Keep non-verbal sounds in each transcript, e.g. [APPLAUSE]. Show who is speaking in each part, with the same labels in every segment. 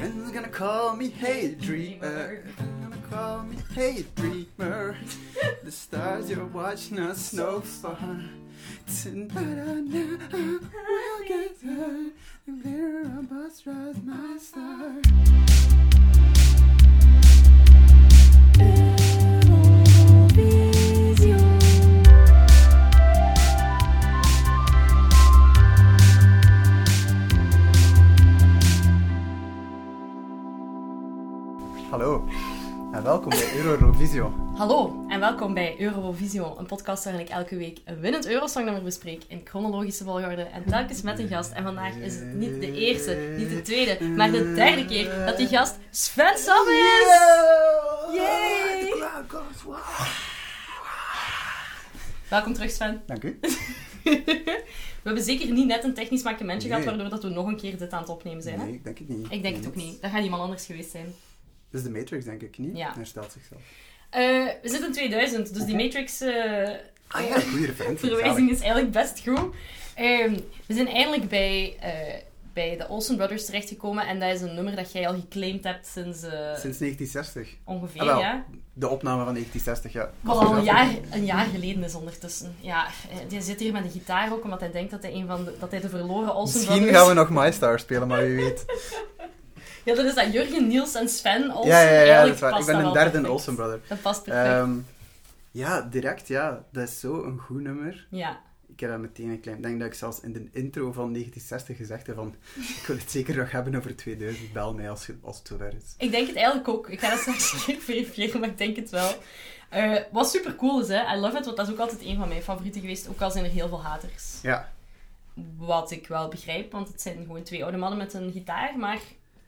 Speaker 1: Everyone's gonna call me Hey Dreamer.
Speaker 2: Dreamer.
Speaker 1: Gonna call me Hey Dreamer. the stars you're watching are so far. Tonight I know I will get hurt. And glitter on bus rides my star. Hallo en welkom bij Euro Eurovisio.
Speaker 2: Hallo en welkom bij Eurovisio, een podcast waarin ik elke week een winnend Eurosongnummer bespreek in chronologische volgorde en telkens met een gast. En vandaag is het niet de eerste, niet de tweede, maar de derde keer dat die gast Sven Sam is! Yay!
Speaker 1: The crowd goes wild.
Speaker 2: Welkom terug Sven.
Speaker 1: Dank u.
Speaker 2: We hebben zeker niet net een technisch mankementen gehad
Speaker 1: Nee.
Speaker 2: waardoor dat we nog een keer dit aan het opnemen zijn. Hè?
Speaker 1: Nee, ik denk het niet.
Speaker 2: Ik denk het ook niet. Dat gaat iemand anders geweest zijn.
Speaker 1: Dit is de Matrix, denk ik niet.
Speaker 2: Ja.
Speaker 1: Herstelt zichzelf.
Speaker 2: Eh, we zitten in 2000, dus die Matrix... eh,
Speaker 1: Ah ja, goede referentie.
Speaker 2: verwijzing is eigenlijk best goed. Ehm, we zijn eindelijk bij, eh, bij de Olsen Brothers terechtgekomen. En dat is een nummer dat jij al geclaimd hebt sinds eh,
Speaker 1: Sinds 1960.
Speaker 2: ongeveer,
Speaker 1: Ah, wel.
Speaker 2: ja?
Speaker 1: De opname van 1960, ja.
Speaker 2: Wat al een jaar, een jaar geleden is ondertussen. Ja, eh, die zit hier met een gitaar ook, omdat hij denkt dat hij, een van de, dat hij de verloren Olsen
Speaker 1: Misschien
Speaker 2: Brothers...
Speaker 1: gaan we nog My Star spelen, maar wie weet.
Speaker 2: Ja, dat is dat Jurgen, Niels en Sven [LAUGHS] Olsen.
Speaker 1: Ja, ja, ja,
Speaker 2: Eigenlijk
Speaker 1: dat is waar.
Speaker 2: past
Speaker 1: Ik ben
Speaker 2: dat
Speaker 1: een
Speaker 2: wel
Speaker 1: derde
Speaker 2: perfect.
Speaker 1: Olsen brother.
Speaker 2: Dat past perfect,
Speaker 1: Ehm, ja, direct, ja. Dat is zo een goed nummer.
Speaker 2: ja.
Speaker 1: Ik heb dat meteen een klein... Ik denk dat ik zelfs in de intro van 1960 gezegd heb van... [LAUGHS] Ik wil het zeker nog hebben over 2000. Bel mij als, je- als het zover is.
Speaker 2: Ik denk het eigenlijk ook. Ik ga dat straks [LAUGHS] een keer verifiëren, maar ik denk het wel. Eh, wat super cool is, hè. I love it, want dat is ook altijd een van mijn favorieten geweest. Ook al zijn er heel veel haters.
Speaker 1: Ja.
Speaker 2: Wat ik wel begrijp, want het zijn gewoon twee oude mannen met een gitaar. Maar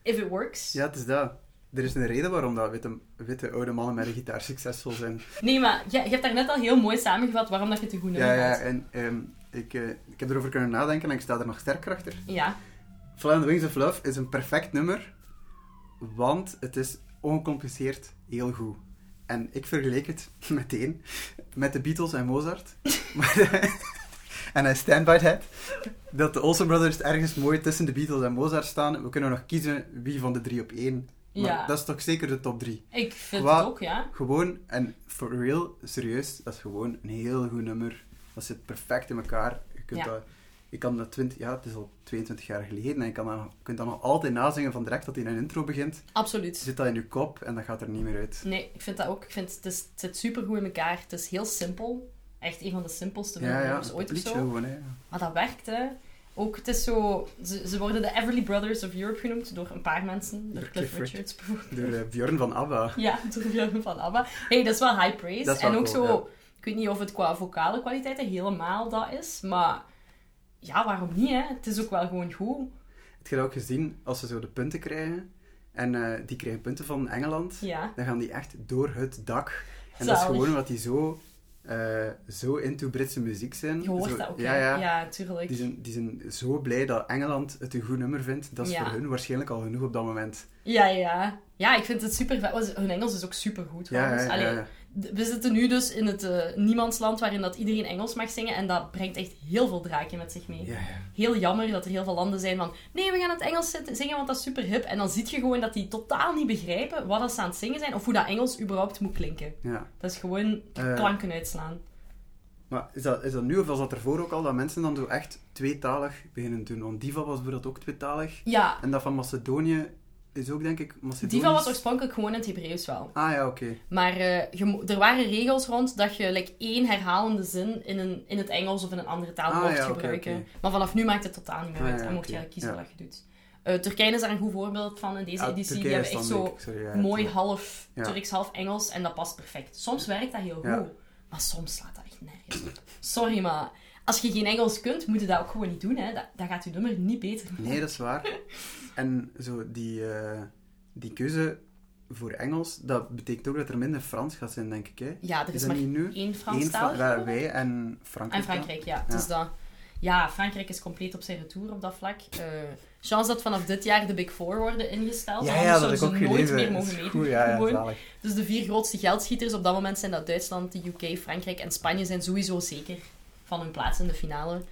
Speaker 2: if it works...
Speaker 1: Ja, het is dat. Er is een reden waarom dat witte, witte oude mannen met een gitaar succesvol zijn.
Speaker 2: Nee, maar je, je hebt daar net al heel mooi samengevat waarom dat je het een goed nummer
Speaker 1: Ja, ja.
Speaker 2: vond.
Speaker 1: En ehm, ik, eh, ik heb erover kunnen nadenken en ik sta er nog sterker achter.
Speaker 2: Ja.
Speaker 1: Fly on the Wings of Love is een perfect nummer, want het is ongecompliceerd heel goed. En ik vergeleek het [LAUGHS] meteen met de Beatles en Mozart. [LAUGHS] Maar- [LAUGHS] en I stand by that. Dat de Olsen Brothers ergens mooi tussen de Beatles en Mozart staan. We kunnen nog kiezen wie van de drie op één. Maar
Speaker 2: Ja.
Speaker 1: dat is toch zeker de top drie.
Speaker 2: Ik vind
Speaker 1: Qua-
Speaker 2: het ook, ja.
Speaker 1: Gewoon, en for real, serieus, dat is gewoon een heel goed nummer. Dat zit perfect in elkaar. Je kunt
Speaker 2: Ja.
Speaker 1: dat, ik kan dat 20, ja, het is al 22 jaar geleden en je kan dat, je kunt dat nog altijd nazingen van direct dat hij een intro begint.
Speaker 2: Absoluut.
Speaker 1: Zit dat in je kop en dat gaat er niet meer uit.
Speaker 2: Nee, ik vind dat ook. Ik vind het, is, het zit super goed in elkaar. Het is heel simpel. Echt een van de simpelste
Speaker 1: Ja, ja,
Speaker 2: nummers ooit
Speaker 1: het
Speaker 2: of
Speaker 1: liedje
Speaker 2: zo.
Speaker 1: gewoon, hè.
Speaker 2: Maar dat werkt, hè. Ook, het is zo... Ze, ze worden de Everly Brothers of Europe genoemd door een paar mensen. Door
Speaker 1: Door
Speaker 2: Cliff
Speaker 1: Cliff
Speaker 2: Richards bijvoorbeeld. [LAUGHS]
Speaker 1: Door eh, Björn van ABBA.
Speaker 2: Ja, door Björn van ABBA. hey, dat is wel high praise.
Speaker 1: Dat is wel
Speaker 2: en ook
Speaker 1: cool,
Speaker 2: zo... Ik weet niet of het qua vocale kwaliteiten helemaal dat is, maar... Ja, waarom niet, hè? Het is ook wel gewoon goed.
Speaker 1: Heb je dat ook gezien, als ze zo de punten krijgen, en eh, die krijgen punten van Engeland,
Speaker 2: Ja.
Speaker 1: dan gaan die echt door het dak. En dat is
Speaker 2: Zalig.
Speaker 1: gewoon omdat die zo, eh, zo into Britse muziek zijn.
Speaker 2: Je hoort
Speaker 1: Zo-
Speaker 2: dat ook,
Speaker 1: ja,
Speaker 2: hè.
Speaker 1: ja.
Speaker 2: tuurlijk.
Speaker 1: Die zijn, die zijn zo blij dat Engeland het een goed nummer vindt. Dat is
Speaker 2: Ja.
Speaker 1: voor hun waarschijnlijk al genoeg op dat moment.
Speaker 2: Ja, ja. Ja, ik vind het super vet. Hun Engels is ook super goed, trouwens.
Speaker 1: ja, ja,
Speaker 2: Allee,
Speaker 1: ja.
Speaker 2: d- we zitten nu dus in het eh, niemandsland waarin dat iedereen Engels mag zingen. En dat brengt echt heel veel draken met zich mee.
Speaker 1: Ja, ja.
Speaker 2: heel jammer dat er heel veel landen zijn van nee, we gaan het Engels zit- zingen, want dat is super hip. En dan zie je gewoon dat die totaal niet begrijpen wat dat ze aan het zingen zijn of hoe dat Engels überhaupt moet klinken.
Speaker 1: ja.
Speaker 2: Dat is gewoon
Speaker 1: Eh.
Speaker 2: klanken uitslaan.
Speaker 1: Maar is dat, is dat nu of was dat ervoor ook al dat mensen dan zo echt tweetalig beginnen te doen? Want Diva was bijvoorbeeld ook tweetalig.
Speaker 2: Ja,
Speaker 1: En dat van Macedonië is ook, denk ik, Macedonisch.
Speaker 2: Diva was oorspronkelijk gewoon in het Hebreeuws wel.
Speaker 1: Ah ja, oké.
Speaker 2: Maar eh, je mo- er waren regels rond dat je like, één herhalende zin in, een, in het Engels of in een andere taal
Speaker 1: Ah,
Speaker 2: mocht
Speaker 1: ja, oké,
Speaker 2: gebruiken.
Speaker 1: oké.
Speaker 2: Maar vanaf nu maakt het totaal niet meer
Speaker 1: Ah,
Speaker 2: uit.
Speaker 1: ja,
Speaker 2: en mocht
Speaker 1: oké,
Speaker 2: je eigenlijk kiezen
Speaker 1: ja.
Speaker 2: wat je doet. Eh, Turkije is daar een goed voorbeeld van in deze
Speaker 1: Ah,
Speaker 2: editie. Die
Speaker 1: Turkije
Speaker 2: hebben
Speaker 1: is
Speaker 2: echt
Speaker 1: dan,
Speaker 2: zo
Speaker 1: denk ik. Sorry, ja,
Speaker 2: mooi
Speaker 1: Turkije.
Speaker 2: half
Speaker 1: Eh, Ja.
Speaker 2: Turks, half Engels en dat past perfect. Soms werkt dat heel goed,
Speaker 1: Ja.
Speaker 2: maar soms slaat dat echt nergens op. [CLEARS THROAT] Sorry, maar als je geen Engels kunt, moet je dat ook gewoon niet doen. Hè. Dat, dat gaat je nummer niet beter.
Speaker 1: Nee, dat is
Speaker 2: [LAUGHS]
Speaker 1: waar. En zo die, eh, die keuze voor Engels, dat betekent ook dat er minder Frans gaat zijn, denk ik. Hè?
Speaker 2: Ja, er is,
Speaker 1: dat
Speaker 2: maar
Speaker 1: niet nu?
Speaker 2: één
Speaker 1: Eén Fra-
Speaker 2: Franstalig.
Speaker 1: waar wij en Frankrijk.
Speaker 2: en
Speaker 1: dan.
Speaker 2: Frankrijk, ja. Dus dat, ja, Frankrijk is compleet op zijn retour op dat vlak. Eh, chance dat vanaf dit jaar de Big Four worden ingesteld.
Speaker 1: Ja,
Speaker 2: anders
Speaker 1: ja, dat
Speaker 2: zouden
Speaker 1: heb ik ook
Speaker 2: ze nooit
Speaker 1: gelezen.
Speaker 2: meer
Speaker 1: Dat
Speaker 2: mogen
Speaker 1: is
Speaker 2: meedoen.
Speaker 1: goed, ja, ja,
Speaker 2: Gewoon.
Speaker 1: zalig.
Speaker 2: Dus de vier grootste geldschieters op dat moment zijn dat Duitsland, de UK, Frankrijk en Spanje zijn sowieso zeker van hun plaats in de finale.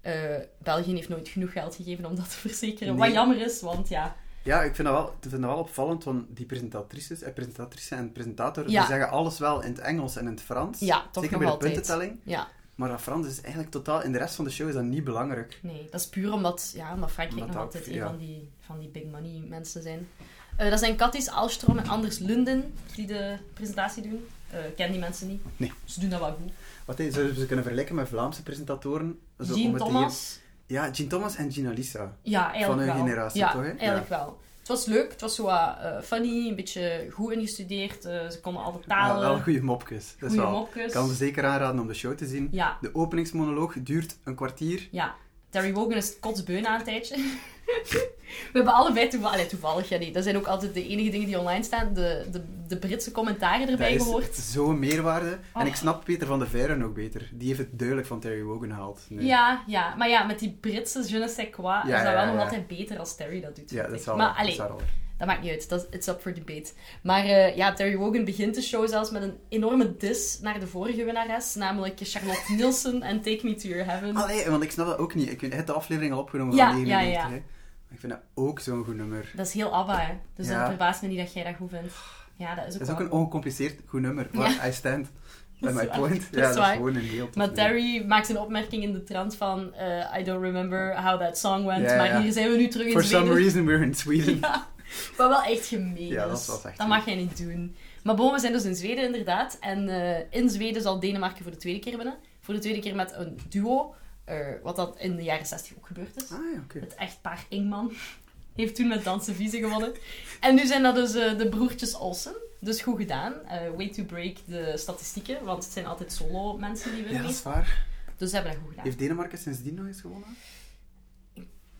Speaker 2: Eh, België heeft nooit genoeg geld gegeven om dat te verzekeren.
Speaker 1: Nee.
Speaker 2: Wat jammer is, want ja,
Speaker 1: Ja, ik vind dat wel, ik vind dat wel opvallend, want die presentatrices, eh, presentatrice en presentator,
Speaker 2: Ja.
Speaker 1: die zeggen alles wel in het Engels en in het Frans.
Speaker 2: Ja,
Speaker 1: Zeker
Speaker 2: toch nog
Speaker 1: bij de
Speaker 2: altijd.
Speaker 1: puntentelling.
Speaker 2: Ja,
Speaker 1: Maar dat Frans is eigenlijk totaal... In de rest van de show is dat niet belangrijk.
Speaker 2: nee. Dat is puur omdat, ja, omdat Frankrijk
Speaker 1: Omdat
Speaker 2: nog
Speaker 1: dat-
Speaker 2: altijd een
Speaker 1: ja.
Speaker 2: van, die, van die big money mensen zijn. Eh, dat zijn Kattis Alstrom en Anders Lunden die de presentatie doen. Eh, ik ken die mensen niet.
Speaker 1: Nee.
Speaker 2: Ze doen dat wel goed.
Speaker 1: Wat hey, zouden we ze kunnen vergelijken met Vlaamse presentatoren? Zo om
Speaker 2: Jean
Speaker 1: het hier-
Speaker 2: Thomas.
Speaker 1: Ja, Jean Thomas en Gina Lisa.
Speaker 2: Ja, eigenlijk
Speaker 1: Van hun
Speaker 2: wel.
Speaker 1: generatie,
Speaker 2: ja,
Speaker 1: toch, hè?
Speaker 2: eigenlijk wel. Het was leuk, het was zo wat, eh, funny, een beetje goed ingestudeerd. eh, ze konden alle talen,
Speaker 1: wel goede mopjes. Dat is
Speaker 2: goede
Speaker 1: wel-
Speaker 2: mopjes.
Speaker 1: Ik kan ze zeker aanraden om de show te zien.
Speaker 2: Ja,
Speaker 1: De openingsmonoloog duurt een kwartier.
Speaker 2: ja. Terry Wogan is kotsbeu na een tijdje. [LAUGHS] We hebben allebei toevallig, allee, toevallig, ja niet. Dat zijn ook altijd de enige dingen die online staan. De, de, de Britse commentaren
Speaker 1: Dat
Speaker 2: erbij
Speaker 1: is
Speaker 2: gehoord.
Speaker 1: zo'n meerwaarde. En
Speaker 2: Oh.
Speaker 1: ik snap Peter van de Veire nog beter. Die heeft het duidelijk van Terry Wogan gehaald. nu.
Speaker 2: Ja, ja. Maar ja, met die Britse je ne sais quoi is
Speaker 1: Ja,
Speaker 2: dat
Speaker 1: ja,
Speaker 2: wel
Speaker 1: ja.
Speaker 2: nog altijd beter als Terry dat doet.
Speaker 1: Ja,
Speaker 2: vind
Speaker 1: dat
Speaker 2: ik.
Speaker 1: zal
Speaker 2: Maar
Speaker 1: wel, dat
Speaker 2: allee,
Speaker 1: zal wel.
Speaker 2: Dat maakt niet uit, dat is it's up for debate. Maar eh, ja, Terry Wogan begint de show zelfs met een enorme dis naar de vorige winnares, namelijk Charlotte Nielsen en Take Me To Your Heaven.
Speaker 1: Allee, want ik snap dat ook niet. Ik heb de aflevering al opgenomen
Speaker 2: Ja,
Speaker 1: van
Speaker 2: ja,
Speaker 1: 99.
Speaker 2: ja.
Speaker 1: hè. Maar ik vind dat ook zo'n goed nummer.
Speaker 2: Dat is heel ABBA, hè? dus
Speaker 1: Ja.
Speaker 2: het verbaast me niet dat jij dat goed vindt. Ja, dat is ook,
Speaker 1: Dat is ook
Speaker 2: wel
Speaker 1: een ongecompliceerd goed nummer. Maar I
Speaker 2: [LAUGHS]
Speaker 1: stand by
Speaker 2: is
Speaker 1: my
Speaker 2: waar.
Speaker 1: point. ja,
Speaker 2: Dat is
Speaker 1: dat is
Speaker 2: waar.
Speaker 1: gewoon een heel tof
Speaker 2: Maar
Speaker 1: nummer.
Speaker 2: Terry maakt een opmerking in de trant van eh, I don't remember how that song went,
Speaker 1: Ja, ja,
Speaker 2: maar
Speaker 1: ja.
Speaker 2: hier zijn we nu terug in
Speaker 1: For some
Speaker 2: Zweden.
Speaker 1: reason we're in Sweden.
Speaker 2: Ja, maar wel echt gemeen.
Speaker 1: Ja, dat
Speaker 2: is.
Speaker 1: is wel echt
Speaker 2: dat mag jij niet doen. Maar bon, we zijn dus in Zweden inderdaad. En eh, in Zweden zal Denemarken voor de tweede keer winnen. Voor de tweede keer met een duo. eh, wat dat in de jaren 60 ook gebeurd is.
Speaker 1: Ah ja, oké.
Speaker 2: Het echtpaar Ingman [LAUGHS] heeft toen met Dansen Vieze gewonnen. En nu zijn dat dus eh, de broertjes Olsen. Dus goed gedaan. Eh, way to break de statistieken. Want het zijn altijd solo mensen die
Speaker 1: Ja,
Speaker 2: winnen.
Speaker 1: dat is waar.
Speaker 2: Dus ze hebben dat goed gedaan.
Speaker 1: Heeft Denemarken sindsdien nog eens gewonnen?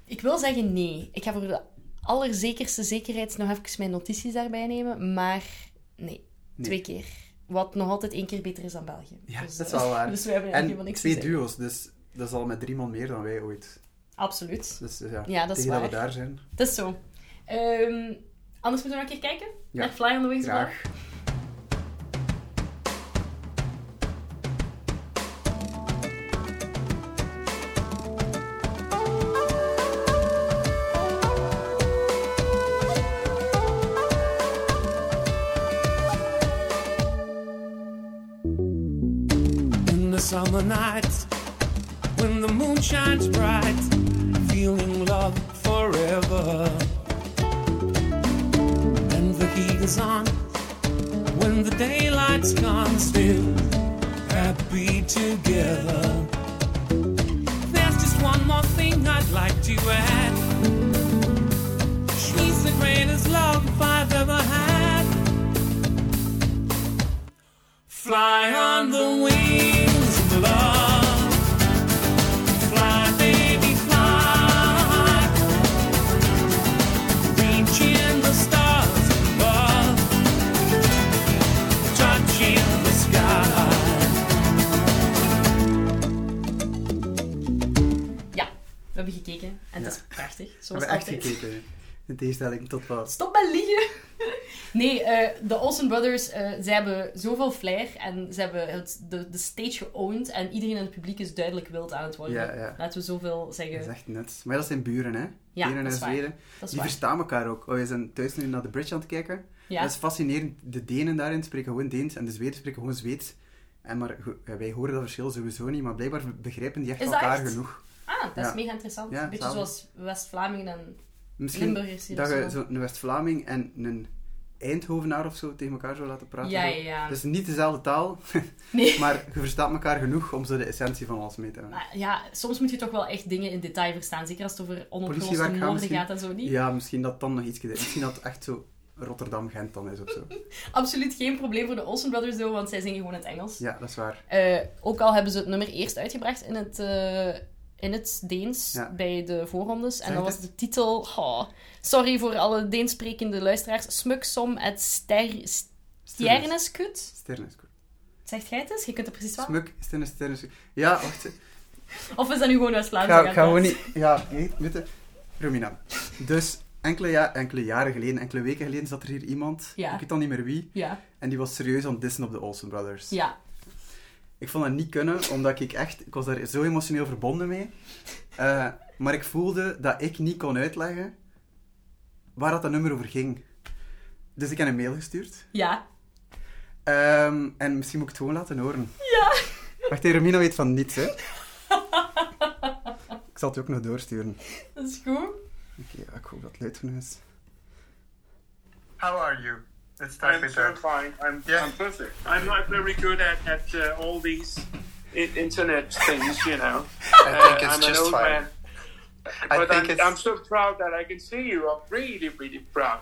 Speaker 2: Ik wil zeggen nee. Ik ga voor de allerzekerste zekerheid nog even mijn notities daarbij nemen. Maar nee,
Speaker 1: Nee.
Speaker 2: twee keer. Wat nog altijd één keer beter is dan België.
Speaker 1: Ja,
Speaker 2: Dus,
Speaker 1: dat is wel waar.
Speaker 2: Dus we hebben eigenlijk
Speaker 1: En
Speaker 2: helemaal niks te
Speaker 1: twee
Speaker 2: zeggen.
Speaker 1: duo's, dus dat is al met drie man meer dan wij ooit.
Speaker 2: Absoluut.
Speaker 1: Dus eh, ja,
Speaker 2: Ja, dat is
Speaker 1: tegen dat
Speaker 2: waar.
Speaker 1: we daar zijn.
Speaker 2: Dat is zo. Ehm, anders moeten we nog een keer kijken
Speaker 1: Ja.
Speaker 2: naar Fly on the Wings of
Speaker 1: Graag.
Speaker 2: Love.
Speaker 3: In the summer night, when the moon shines bright, feeling love forever. And the heat is on, when the daylight's gone, still happy together. There's just one more thing I'd like to add. She's the greatest love I've ever had. Fly on the wings of love. Fly, baby, fly. Reaching the stars above. Touching the sky.
Speaker 2: Ja, we hebben gekeken. En het
Speaker 1: Ja.
Speaker 2: is prachtig,
Speaker 1: We
Speaker 2: zoals
Speaker 1: hebben echt
Speaker 2: altijd.
Speaker 1: gekeken. In tegenstelling tot wat.
Speaker 2: Stop met liegen! [LAUGHS] Nee, eh, de Olsen Brothers, eh ze hebben zoveel flair en ze hebben het, de, de stage geowned en iedereen in het publiek is duidelijk wild aan het worden.
Speaker 1: Ja, ja.
Speaker 2: Laten we zoveel zeggen.
Speaker 1: Dat is echt net. Maar dat zijn buren, hè?
Speaker 2: Ja,
Speaker 1: Denen
Speaker 2: dat
Speaker 1: en
Speaker 2: is waar.
Speaker 1: Zweden.
Speaker 2: Dat is
Speaker 1: Die
Speaker 2: waar.
Speaker 1: verstaan elkaar ook. Oh, we zijn thuis nu naar de bridge aan het kijken.
Speaker 2: Ja.
Speaker 1: Dat is fascinerend. De Denen daarin spreken gewoon Deens en de Zweden spreken gewoon Zweeds. En maar go- ja, wij horen dat verschil sowieso niet, maar blijkbaar begrijpen die echt
Speaker 2: Is dat
Speaker 1: elkaar
Speaker 2: echt?
Speaker 1: genoeg.
Speaker 2: Ah, dat is
Speaker 1: Ja.
Speaker 2: mega interessant.
Speaker 1: Ja,
Speaker 2: Een beetje
Speaker 1: samen.
Speaker 2: zoals West-Vlamingen en...
Speaker 1: Misschien
Speaker 2: Limburgers hier
Speaker 1: dat
Speaker 2: of
Speaker 1: je
Speaker 2: zo.
Speaker 1: zo'n West-Vlaming en een Eindhovenaar of zo tegen elkaar zou laten praten.
Speaker 2: Ja,
Speaker 1: zo.
Speaker 2: ja, ja.
Speaker 1: Dus niet dezelfde taal, [LAUGHS]
Speaker 2: [LAUGHS] Nee.
Speaker 1: maar je verstaat elkaar genoeg om zo de essentie van alles mee te hebben.
Speaker 2: Maar ja, soms moet je toch wel echt dingen in detail verstaan. Zeker als het over onopgeloste
Speaker 1: Politiewerk gaan
Speaker 2: moorden
Speaker 1: misschien-
Speaker 2: gaat en zo niet.
Speaker 1: Ja, misschien dat dan nog iets... Misschien dat het echt zo Rotterdam-Gent dan is of zo.
Speaker 2: Absoluut geen probleem voor de Olsen Brothers, though, want zij zingen gewoon in het Engels.
Speaker 1: Ja, dat is waar.
Speaker 2: Eh, ook al hebben ze het nummer eerst uitgebracht in het, eh, in het Deens
Speaker 1: Ja.
Speaker 2: bij de voorrondes. En
Speaker 1: Zeg
Speaker 2: dan
Speaker 1: het
Speaker 2: was de titel... oh, sorry voor alle Deens sprekende luisteraars. Smuksom et ster, Stjerneskut.
Speaker 1: Sterren is goed.
Speaker 2: Zegt jij het eens? Je kunt het precies wel.
Speaker 1: Smuk, sterren, sterren. Ja, wacht.
Speaker 2: Of is dat nu gewoon West-Vlaams?
Speaker 1: ga, ga gewoon niet. Ja, nee, weet je, Romina. Dus enkele, ja, enkele jaren geleden, enkele weken geleden, zat er hier iemand.
Speaker 2: Ja.
Speaker 1: Ik weet al niet meer wie.
Speaker 2: Ja,
Speaker 1: En die was serieus aan het dissen op de Olsen Brothers.
Speaker 2: ja.
Speaker 1: Ik vond dat niet kunnen, omdat ik echt. Ik was daar zo emotioneel verbonden mee. Eh, maar ik voelde dat ik niet kon uitleggen
Speaker 4: waar dat, dat nummer over ging. Dus ik heb een mail gestuurd.
Speaker 2: Ja.
Speaker 4: Ehm, en misschien moet ik het gewoon laten horen.
Speaker 2: Ja. [LAUGHS]
Speaker 4: Wacht, Romina weet van niets, hè. Ik zal het ook nog doorsturen.
Speaker 2: Dat is goed.
Speaker 4: Oké, ja, ik hoop dat het luid genoeg is.
Speaker 1: How are you? Let's start
Speaker 5: I'm
Speaker 1: with
Speaker 5: so
Speaker 1: that.
Speaker 5: fine. I'm,
Speaker 1: Yeah.
Speaker 5: I'm perfect. I'm not very good at, at uh, all these I- internet things, you know.
Speaker 1: I think
Speaker 5: Uh,
Speaker 1: it's
Speaker 5: I'm an
Speaker 1: just
Speaker 5: old
Speaker 1: fine.
Speaker 5: man.
Speaker 1: I
Speaker 5: But
Speaker 1: think
Speaker 5: I'm,
Speaker 1: it's
Speaker 5: I'm so proud that I can see you. I'm really, really proud.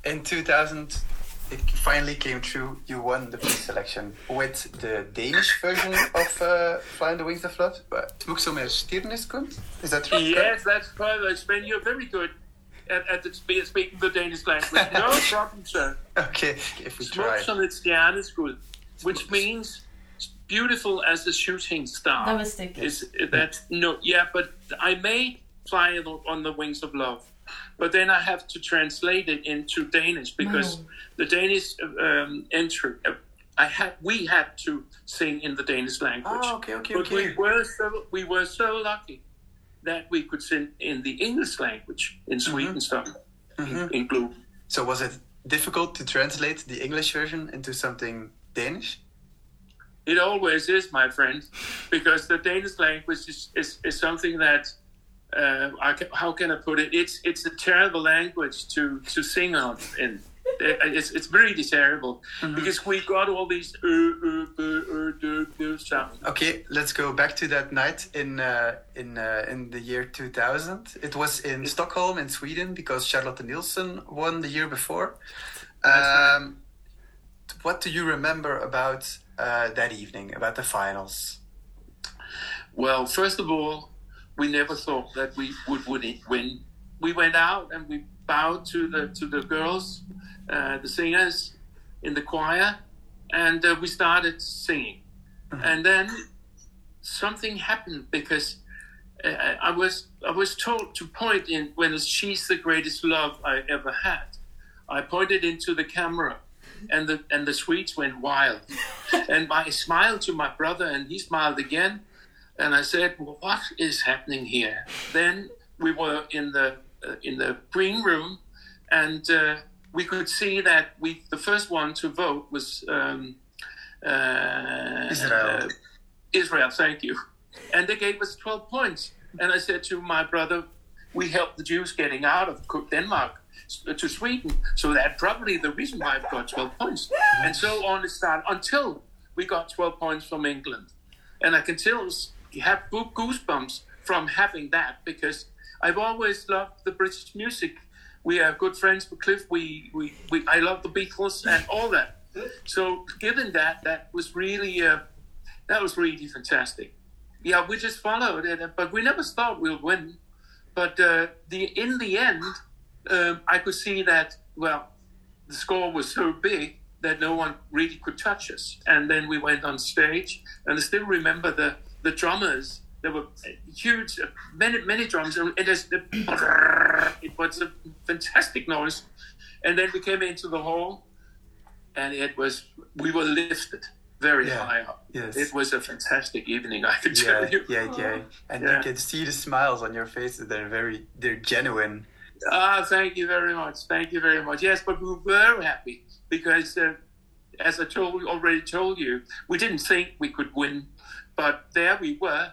Speaker 1: in 2000 it finally came true. You won the pre-selection with the Danish version of uh, Flying the Wings of Love. Uh, Het boek zo meer Stiernis komt. Is that true?
Speaker 5: Yes, that's perfect. Ben, you're very good at, at the, spe- speaking the Danish
Speaker 1: [LAUGHS]
Speaker 5: language. No problem, sir.
Speaker 1: Okay, if we try.
Speaker 5: Smuts on its stjerneskud, which means beautiful as a shooting star.
Speaker 2: Dat wist ik.
Speaker 5: Is that no? Yeah, but I may fly on the wings of love, but then I have to translate it into Danish because
Speaker 2: Wow.
Speaker 5: the Danish um, entry. Uh, I had we had to sing in the Danish language.
Speaker 1: Ah, okay, okay,
Speaker 5: but
Speaker 1: okay.
Speaker 5: we were so we were so lucky that we could sing in the English language
Speaker 1: Mm-hmm.
Speaker 5: in Sweden, Stockholm, in, in Gloom.
Speaker 1: So was it difficult to translate the English version into something Danish?
Speaker 5: It always is, my friend, because the Danish language is, is, is something that uh, I ca how can I put it? It's it's a terrible language to, to sing on in. Uh, It's, it's really terrible because we got all these uh, uh, uh, uh, uh, sounds.
Speaker 1: Okay, let's go back to that night in uh, in uh, in the year 2000. It was in Stockholm in Sweden because Charlotte Nielsen won the year before. Um, what do you remember about uh, that evening, about the finals?
Speaker 5: Well, first of all, we never thought that we would win. win. We went out and we bowed to the to the girls, uh, the singers in the choir, and uh, we started singing. And then something happened because uh, I was I was told to point in when it's she's the greatest love I ever had. I pointed into the camera, and the and the Swedes went wild. and I smiled to my brother, and he smiled again. And I said, well, "What is happening here?" Then we were in the uh, in the green room, and uh, we could see that we the first one to vote was um, uh,
Speaker 1: Israel.
Speaker 5: Israel, thank you. And they gave us 12 points. And I said to my brother, we helped the Jews getting out of Co- Denmark s- uh, to Sweden. So that's probably the reason why I've got 12 points. And so on it started until we got 12 points from England. And I can still s- have goo- goosebumps from having that because I've always loved the British music. We are good friends with Cliff. We, we, we I love the Beatles and all that. So given that, that was really uh, that was really fantastic. Yeah, we just followed it, but we never thought we'll win. But uh, the in the end, um, I could see that well, the score was so big that no one really could touch us. And then we went on stage, and I still remember the the drummers. There were huge, uh, many many drums, and it is [COUGHS] it was a fantastic noise. And then we came into the hall, and it was we were lifted very
Speaker 1: Yeah.
Speaker 5: high up.
Speaker 1: Yes.
Speaker 5: It was a fantastic evening, I can
Speaker 1: [LAUGHS] Yeah,
Speaker 5: tell you.
Speaker 1: yeah, yeah. And you
Speaker 5: Yeah.
Speaker 1: can see the smiles on your faces. They're very, they're genuine.
Speaker 5: Ah, thank you very much. Thank you very much. Yes, but we were happy because, uh, as I told already told you, we didn't think we could win, but there we were,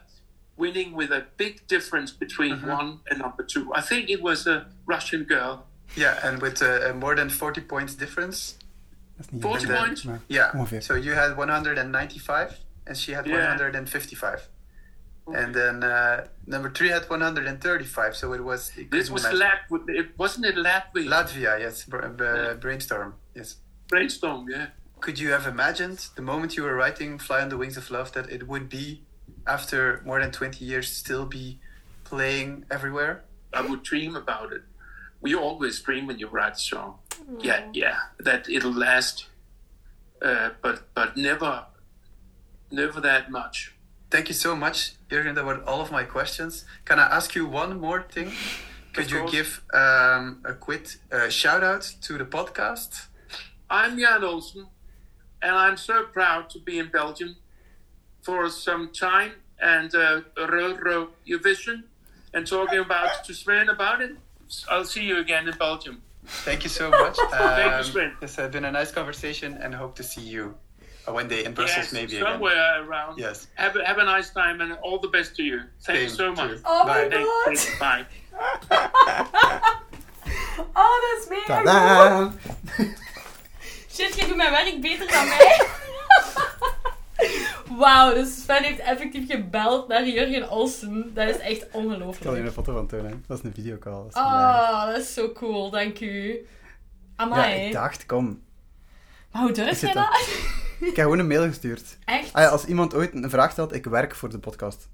Speaker 5: winning with a big difference between
Speaker 1: Mm-hmm.
Speaker 5: one and number two. I think it was a Russian girl.
Speaker 1: Yeah, and with uh, a more than 40 points difference.
Speaker 4: Dat is
Speaker 5: 40
Speaker 4: niet erg,
Speaker 5: points?
Speaker 4: maar
Speaker 1: Yeah.
Speaker 4: ongeveer.
Speaker 1: So you had 195, and she had
Speaker 5: Yeah.
Speaker 1: 155. And then uh, number three had 135, so it was. it
Speaker 5: This
Speaker 1: couldn't
Speaker 5: was
Speaker 1: match.
Speaker 5: Lat. It wasn't it Latvia.
Speaker 1: Latvia, yes, br- b- brainstorm, yes.
Speaker 5: Brainstorm. Yeah.
Speaker 1: Could you have imagined the moment you were writing "Fly on the Wings of Love" that it would be, after more than 20 years, still be playing everywhere?
Speaker 5: I would dream about it. We always dream when you write a song. Yeah, yeah, that it'll last, uh, but but never, never that much.
Speaker 1: Thank you so much, Jurgen. That were all of my questions. Can I ask you one more thing? Could you
Speaker 5: course.
Speaker 1: give um, a quick uh, shout out to the podcast?
Speaker 5: I'm Jan Olsen, and I'm so proud to be in Belgium for some time and uh, Euro Eurovision and talking about to Sven about it. I'll see you again in Belgium.
Speaker 1: Thank you so much.
Speaker 5: [LAUGHS] Thank you,
Speaker 1: Um,
Speaker 5: Sven.
Speaker 1: This has been a nice conversation and hope to see you uh, one day in Brussels,
Speaker 5: yes,
Speaker 1: maybe again.
Speaker 5: somewhere around.
Speaker 1: Yes.
Speaker 5: Have a, have a nice time and all the best to you. Thank you
Speaker 1: Same
Speaker 5: so
Speaker 1: to
Speaker 5: much.
Speaker 1: you.
Speaker 2: Oh
Speaker 1: Bye.
Speaker 2: my
Speaker 5: Thank,
Speaker 2: god.
Speaker 5: thank, bye.
Speaker 2: Oh, dat is mega cool.
Speaker 4: Tadaa!
Speaker 2: Shit, jij doet mijn werk beter dan mij. [LAUGHS] Wauw, dus Sven heeft effectief gebeld naar Jurgen Olsen. Dat is echt
Speaker 4: Ik kan hier
Speaker 2: ongelooflijk.
Speaker 4: een foto van tonen. Dat is een videocall. Dat is hilarisch.
Speaker 2: Oh, dat is zo cool, dank u.
Speaker 4: ja,
Speaker 2: Amai.
Speaker 4: ik dacht, kom.
Speaker 2: maar hoe
Speaker 4: Ik
Speaker 2: durf
Speaker 4: zit
Speaker 2: jij
Speaker 4: dan-
Speaker 2: dat? [LAUGHS]
Speaker 4: Ik heb gewoon een mail gestuurd.
Speaker 2: Echt?
Speaker 4: Ah ja, als iemand ooit een vraag stelt, ik werk voor de podcast.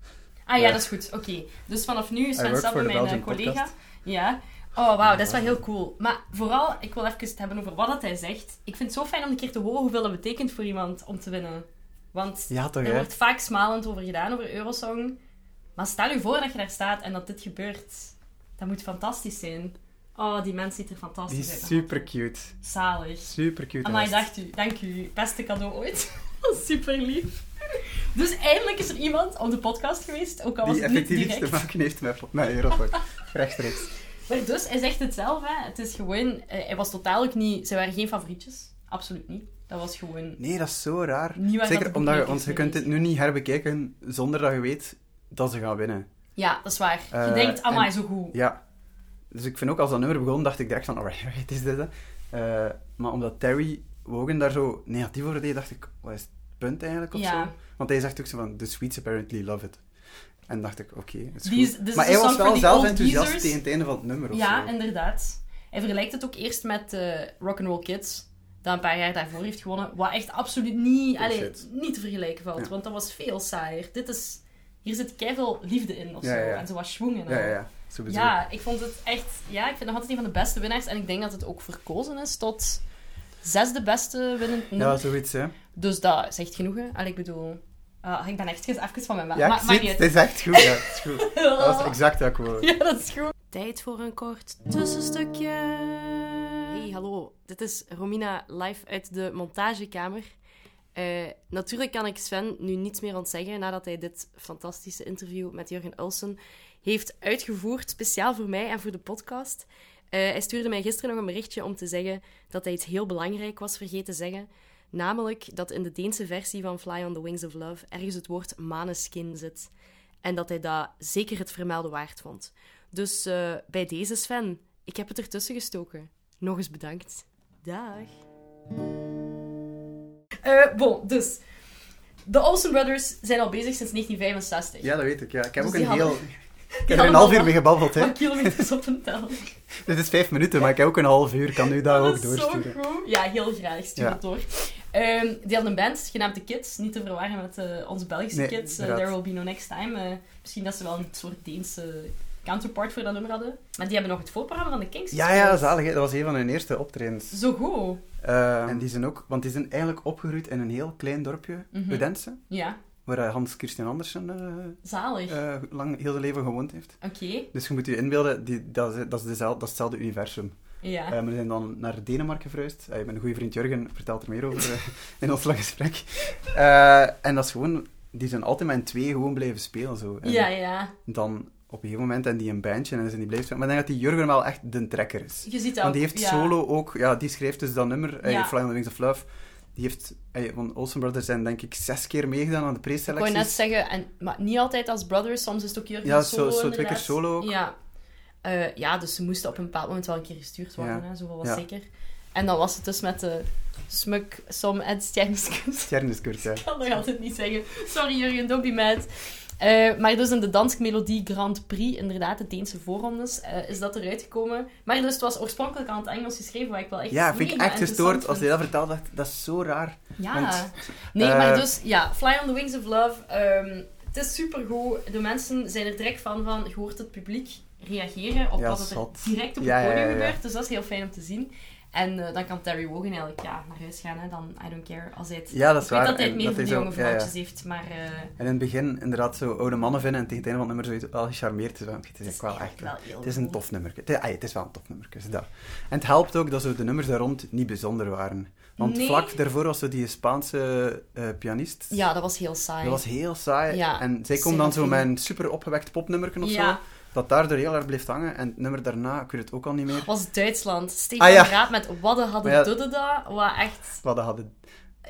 Speaker 2: Ah ja,
Speaker 4: Ja.
Speaker 2: dat is goed. Oké. Dus vanaf nu is
Speaker 4: Hij
Speaker 2: Sven
Speaker 4: werkt
Speaker 2: Sabbe
Speaker 4: voor de
Speaker 2: mijn eh,
Speaker 4: Belgian
Speaker 2: collega.
Speaker 4: podcast.
Speaker 2: Ja. Oh, wauw, dat is wel heel cool. Maar vooral, ik wil even het hebben over wat dat hij zegt. Ik vind het zo fijn om een keer te horen hoeveel dat betekent voor iemand om te winnen. Want
Speaker 4: Ja, toch
Speaker 2: er
Speaker 4: hè?
Speaker 2: wordt vaak smalend over gedaan, over Eurosong. Maar stel u voor dat je daar staat en dat dit gebeurt. Dat moet fantastisch zijn. Oh, die mens ziet er fantastisch
Speaker 4: Die
Speaker 2: uit.
Speaker 4: is super cute.
Speaker 2: Zalig.
Speaker 4: Super cute.
Speaker 2: Amai,
Speaker 4: gast.
Speaker 2: dacht u. Dank u. Beste cadeau ooit. [LAUGHS] Super lief. Dus eindelijk is er iemand op de podcast geweest, ook al was
Speaker 4: Die
Speaker 2: het niet
Speaker 4: effectief iets te
Speaker 2: direct.
Speaker 4: maken heeft met, met Eurosport. [LAUGHS] Rechtstreeks.
Speaker 2: Maar dus, hij zegt het zelf, hè. Het is gewoon... eh, hij was totaal ook niet... Ze waren geen favorietjes. Absoluut niet. Dat was gewoon...
Speaker 4: Nee, dat is zo raar.
Speaker 2: Niet waar dat
Speaker 4: Zeker
Speaker 2: de
Speaker 4: omdat je,
Speaker 2: boekmakers
Speaker 4: want je
Speaker 2: mee
Speaker 4: kunt dit
Speaker 2: bezig
Speaker 4: nu niet herbekijken zonder dat je weet dat ze gaan winnen.
Speaker 2: Ja, dat is waar. Je
Speaker 4: Eh,
Speaker 2: denkt, amai,
Speaker 4: en-
Speaker 2: zo goed.
Speaker 4: Ja. Dus ik vind ook als dat nummer begon, dacht ik direct van, alright, [LAUGHS] alright, is dit hè. Eh, maar omdat Terry Wogan daar zo negatief over deed, dacht ik, wat is het punt eigenlijk of
Speaker 2: Ja.
Speaker 4: zo? Want hij zegt ook zo van, the Swedes apparently love it. En dacht ik, oké, het is
Speaker 2: These-
Speaker 4: goed.
Speaker 2: this
Speaker 4: Maar
Speaker 2: is a
Speaker 4: hij was
Speaker 2: song for
Speaker 4: wel
Speaker 2: the
Speaker 4: zelf
Speaker 2: old
Speaker 4: enthousiast
Speaker 2: geezers.
Speaker 4: tegen het einde van het nummer of
Speaker 2: Ja,
Speaker 4: zo.
Speaker 2: inderdaad. Hij vergelijkt het ook eerst met eh Rock'n'Roll Kids, dat een paar jaar daarvoor heeft gewonnen. Wat echt absoluut niet, allee,
Speaker 4: Bullshit.
Speaker 2: niet te vergelijken valt,
Speaker 4: Ja.
Speaker 2: want dat was veel saaier. Dit is... Hier zit keiveel liefde in, of
Speaker 4: Ja,
Speaker 2: zo.
Speaker 4: ja, ja.
Speaker 2: En zo wat schwung en
Speaker 4: Ja,
Speaker 2: al.
Speaker 4: ja, ja. Zo bedoel ik.
Speaker 2: Ja, ik vond het echt... Ja, ik vind nog altijd een van de beste winnaars. En ik denk dat het ook verkozen is tot zesde beste winnend nummer.
Speaker 4: Ja, zoiets, hè.
Speaker 2: Dus dat zegt genoeg, hè. Allee, ik bedoel... ah, ik ben echt eens even van mijn...
Speaker 4: Ja,
Speaker 2: maar,
Speaker 4: ik
Speaker 2: maakt
Speaker 4: zie
Speaker 2: niet uit.
Speaker 4: het. Het is echt goed, ja. Het is
Speaker 2: [LAUGHS]
Speaker 4: goed. Dat was exact wat ik wou.
Speaker 2: Ja, dat is goed. Tijd voor een kort tussenstukje. Hey, hallo. Dit is Romina live uit de montagekamer. Eh, natuurlijk kan ik Sven nu niets meer ontzeggen nadat hij dit fantastische interview met Jurgen Ulsen heeft uitgevoerd, speciaal voor mij en voor de podcast. Eh, hij stuurde mij gisteren nog een berichtje om te zeggen dat hij iets heel belangrijk was vergeten te zeggen. Namelijk dat in de Deense versie van Fly on the Wings of Love ergens het woord maneskin zit. En dat hij dat zeker het vermelden waard vond. Dus eh, bij deze Sven, ik heb het ertussen gestoken. Nog eens bedankt. Dag. bon, dus. De Olsen Brothers zijn al bezig sinds 1965.
Speaker 4: Ja, dat weet ik, ja. Ik heb
Speaker 2: Dus
Speaker 4: ook
Speaker 2: die
Speaker 4: een heel...
Speaker 2: hadden- [LAUGHS]
Speaker 4: Ik heb er een half uur mee gebabbeld, hè.
Speaker 2: Wat kilometers [LAUGHS] op een tel.
Speaker 4: Dit is vijf minuten, maar ik heb ook een half uur. Ik kan nu dat
Speaker 2: Dat
Speaker 4: ook
Speaker 2: is zo
Speaker 4: doorsturen.
Speaker 2: goed. Ja, heel graag. Stuur
Speaker 4: Ja.
Speaker 2: het door. Ehm, die hadden een band, genaamd The Kids. Niet te verwarren met eh, onze Belgische
Speaker 4: Nee,
Speaker 2: kids. eh,
Speaker 4: inderdaad.
Speaker 2: There Will Be No Next Time. Eh, misschien dat ze wel een soort Deense counterpart voor dat nummer hadden. Maar die hebben nog het voorprogramma van de Kings
Speaker 4: Ja, ja,
Speaker 2: gespeeld.
Speaker 4: zalig. hè. Dat was een van hun eerste optredens.
Speaker 2: Zo goed.
Speaker 4: Eh, en die zijn ook... Want die zijn eigenlijk opgegroeid in een heel klein dorpje,
Speaker 2: Mhm.
Speaker 4: Udense,
Speaker 2: Ja,
Speaker 4: waar eh, Hans Christian Andersen eh,
Speaker 2: zalig.
Speaker 4: eh, lang heel zijn leven gewoond heeft.
Speaker 2: Oké,
Speaker 4: Dus je moet je inbeelden, die, dat, is, dat, is dezelfde, dat is hetzelfde universum.
Speaker 2: ja.
Speaker 4: Eh, we zijn dan naar Denemarken verhuisd. Eh, mijn goede vriend Jurgen vertelt er meer over eh, in ons lang gesprek. Eh, en dat is gewoon... Die zijn altijd met twee gewoon blijven spelen, zo. En
Speaker 2: ja, ja.
Speaker 4: Dan op een gegeven moment en die een bandje en dan zijn die blijven spelen. Maar ik denk dat die Jurgen wel echt de trekker is.
Speaker 2: Je ziet dat
Speaker 4: Want die
Speaker 2: ook,
Speaker 4: heeft
Speaker 2: ja.
Speaker 4: solo ook, ja, die schreef dus dat nummer, eh,
Speaker 2: Ja.
Speaker 4: Fly on the Wings of Love. Die heeft, eh, van Olsen Brothers zijn denk ik zes keer meegedaan aan de
Speaker 2: Ik wou
Speaker 4: preselecties.
Speaker 2: net zeggen, en, maar niet altijd als brothers, soms is het ook Jurgen
Speaker 4: Ja, zo-
Speaker 2: solo.
Speaker 4: zo twee
Speaker 2: inderdaad.
Speaker 4: keer solo ook.
Speaker 2: Ja. Eh, ja, dus ze moesten op een bepaald moment wel een keer gestuurd worden,
Speaker 4: Ja.
Speaker 2: hè, zoveel was
Speaker 4: Ja.
Speaker 2: zeker. En dan was het dus met de smuk, som en stjernskunst.
Speaker 4: Stjernenskurs, ja.
Speaker 2: [LAUGHS] Ik kan nog altijd niet zeggen. Sorry Jurgen, don't be mad. Eh, maar dus in de dansmelodie Grand Prix, inderdaad, de Deense voorrondes, eh, is dat eruit gekomen. Maar dus het was oorspronkelijk aan het Engels geschreven, wat ik wel echt
Speaker 4: Ja, vind ik
Speaker 2: mega
Speaker 4: echt gestoord.
Speaker 2: interessant
Speaker 4: Als
Speaker 2: vind.
Speaker 4: hij dat vertelt, dacht ik, dat is zo raar.
Speaker 2: Ja.
Speaker 4: Want,
Speaker 2: nee,
Speaker 4: eh,
Speaker 2: maar dus, ja, Fly on the Wings of Love. ehm, het is supergoed. De mensen zijn er direct van, van je hoort het publiek reageren op
Speaker 4: Ja,
Speaker 2: wat er
Speaker 4: zot.
Speaker 2: direct op
Speaker 4: Ja,
Speaker 2: het
Speaker 4: ja,
Speaker 2: podium
Speaker 4: ja, ja.
Speaker 2: gebeurt. Dus dat is heel fijn om te zien. En eh, dan kan Terry Wogan eigenlijk ja, naar huis gaan, hè, dan I don't care. Als hij het...
Speaker 4: Ja, dat is
Speaker 2: ik weet
Speaker 4: waar.
Speaker 2: dat hij
Speaker 4: En
Speaker 2: het meer
Speaker 4: dat
Speaker 2: voor
Speaker 4: is
Speaker 2: de
Speaker 4: ook-
Speaker 2: jonge
Speaker 4: ja, ja.
Speaker 2: vrouwtjes heeft, maar... eh,
Speaker 4: En in het begin inderdaad zo oude mannen vinden en tegen het einde van het nummer zoiets wel gecharmeerd zijn. Het is
Speaker 2: is
Speaker 4: echt wel
Speaker 2: eigenlijk
Speaker 4: echt...
Speaker 2: wel
Speaker 4: eh,
Speaker 2: heel
Speaker 4: Het is
Speaker 2: goed.
Speaker 4: een tof nummer. Het, is- ah, ja, het is wel een tof nummer. dat. En het helpt ook dat zo de nummers daar rond niet bijzonder waren. Want
Speaker 2: Nee.
Speaker 4: vlak daarvoor was zo die Spaanse eh, pianist.
Speaker 2: ja, dat was heel saai.
Speaker 4: Dat was heel saai.
Speaker 2: Ja,
Speaker 4: en zij
Speaker 2: zeker
Speaker 4: komt dan zo
Speaker 2: niet.
Speaker 4: met een super opgewekt popnummerken of
Speaker 2: Ja.
Speaker 4: zo. dat daardoor heel erg bleef hangen. En het nummer daarna, ik weet het ook al niet meer.
Speaker 2: was Duitsland. Stefan
Speaker 4: Ah, ja.
Speaker 2: Raap met Wadden hadden
Speaker 4: Maar ja.
Speaker 2: dudden daar, wat echt
Speaker 4: Wat dat hadden.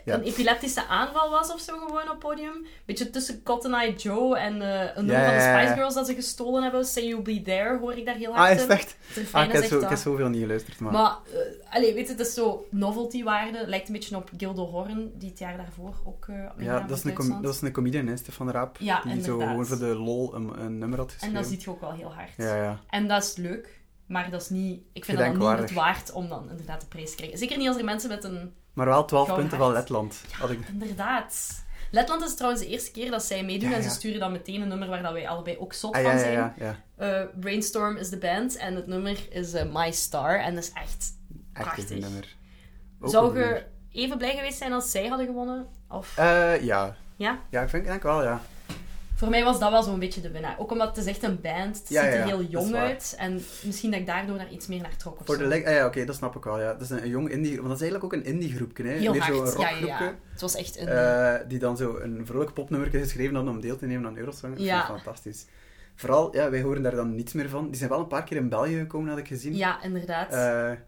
Speaker 4: Ja.
Speaker 2: een epileptische aanval was of zo gewoon op het podium. Beetje tussen Cotton Eye Joe en eh, een nummer
Speaker 4: Ja,
Speaker 2: van de
Speaker 4: ja, ja.
Speaker 2: Spice Girls dat ze gestolen hebben. Say You'll Be There hoor ik daar heel hard
Speaker 4: Ah, is
Speaker 2: in.
Speaker 4: het echt?
Speaker 2: Het refrein
Speaker 4: Ah, ik
Speaker 2: is
Speaker 4: heb,
Speaker 2: echt
Speaker 4: zo, ik
Speaker 2: dat.
Speaker 4: heb zoveel niet geluisterd, maar...
Speaker 2: Maar, eh allee, weet je, het is zo novelty-waarde. Lijkt een beetje op Gildo Horn, die het jaar daarvoor ook eh
Speaker 4: ja,
Speaker 2: meegedaan
Speaker 4: dat
Speaker 2: voor
Speaker 4: is, een com-
Speaker 2: Duitsland.
Speaker 4: dat is een comedian, hè, Stefan Raap.
Speaker 2: Ja,
Speaker 4: die zo
Speaker 2: inderdaad.
Speaker 4: gewoon voor de lol een, een nummer had
Speaker 2: En
Speaker 4: geschreven.
Speaker 2: dat ziet je ook wel heel hard.
Speaker 4: Ja, ja.
Speaker 2: En dat is leuk, maar dat is niet... Ik vind dat dan niet
Speaker 4: Gedenkwaardig.
Speaker 2: het waard om dan inderdaad de prijs te krijgen. Zeker niet als er mensen met een...
Speaker 4: Maar wel 12
Speaker 2: Gewoon
Speaker 4: punten
Speaker 2: hard.
Speaker 4: van Letland. Had ik...
Speaker 2: Inderdaad. Letland is trouwens de eerste keer dat zij meedoen
Speaker 4: Ja,
Speaker 2: en
Speaker 4: ja.
Speaker 2: ze sturen dan meteen een nummer waar dat wij allebei ook zot
Speaker 4: Ah, ja,
Speaker 2: van
Speaker 4: ja,
Speaker 2: zijn.
Speaker 4: ja. ja.
Speaker 2: Eh, Brainstorm is de band en het nummer is eh, My Star en dat is echt...
Speaker 4: Echt
Speaker 2: Prachtig.
Speaker 4: een nummer. Ook een
Speaker 2: Zou
Speaker 4: goed nummer.
Speaker 2: je even blij geweest zijn als zij hadden gewonnen? Of...
Speaker 4: Eh, ja.
Speaker 2: Ja?
Speaker 4: Ja, ik vind, denk wel, ja.
Speaker 2: Voor mij was dat wel zo'n beetje de winnaar. Ook omdat het is echt een band, het
Speaker 4: Ja,
Speaker 2: ziet er
Speaker 4: ja, ja,
Speaker 2: heel
Speaker 4: dat is
Speaker 2: jong
Speaker 4: waar.
Speaker 2: uit. En misschien dat ik daardoor daar iets meer naar trok of
Speaker 4: Voor de
Speaker 2: zo.
Speaker 4: leg... ah, ja, oké, dat snap ik wel, ja. Dat is een, een jong indie... Want dat is eigenlijk ook een indie groepje, hè.
Speaker 2: Heel
Speaker 4: Meer
Speaker 2: hard,
Speaker 4: zo'n
Speaker 2: ja, Mm. ja,
Speaker 4: rockgroepje.
Speaker 2: ja. Het was echt een...
Speaker 4: eh, die dan zo een vrolijk popnummer heeft geschreven hadden om deel te nemen aan Eurosong. Dat
Speaker 2: Ja.
Speaker 4: vind ik fantastisch. Vooral, ja, wij horen daar dan niets meer van. Die zijn wel een paar keer in België gekomen, had ik gezien.
Speaker 2: ja, inderdaad.
Speaker 4: Eh, eh,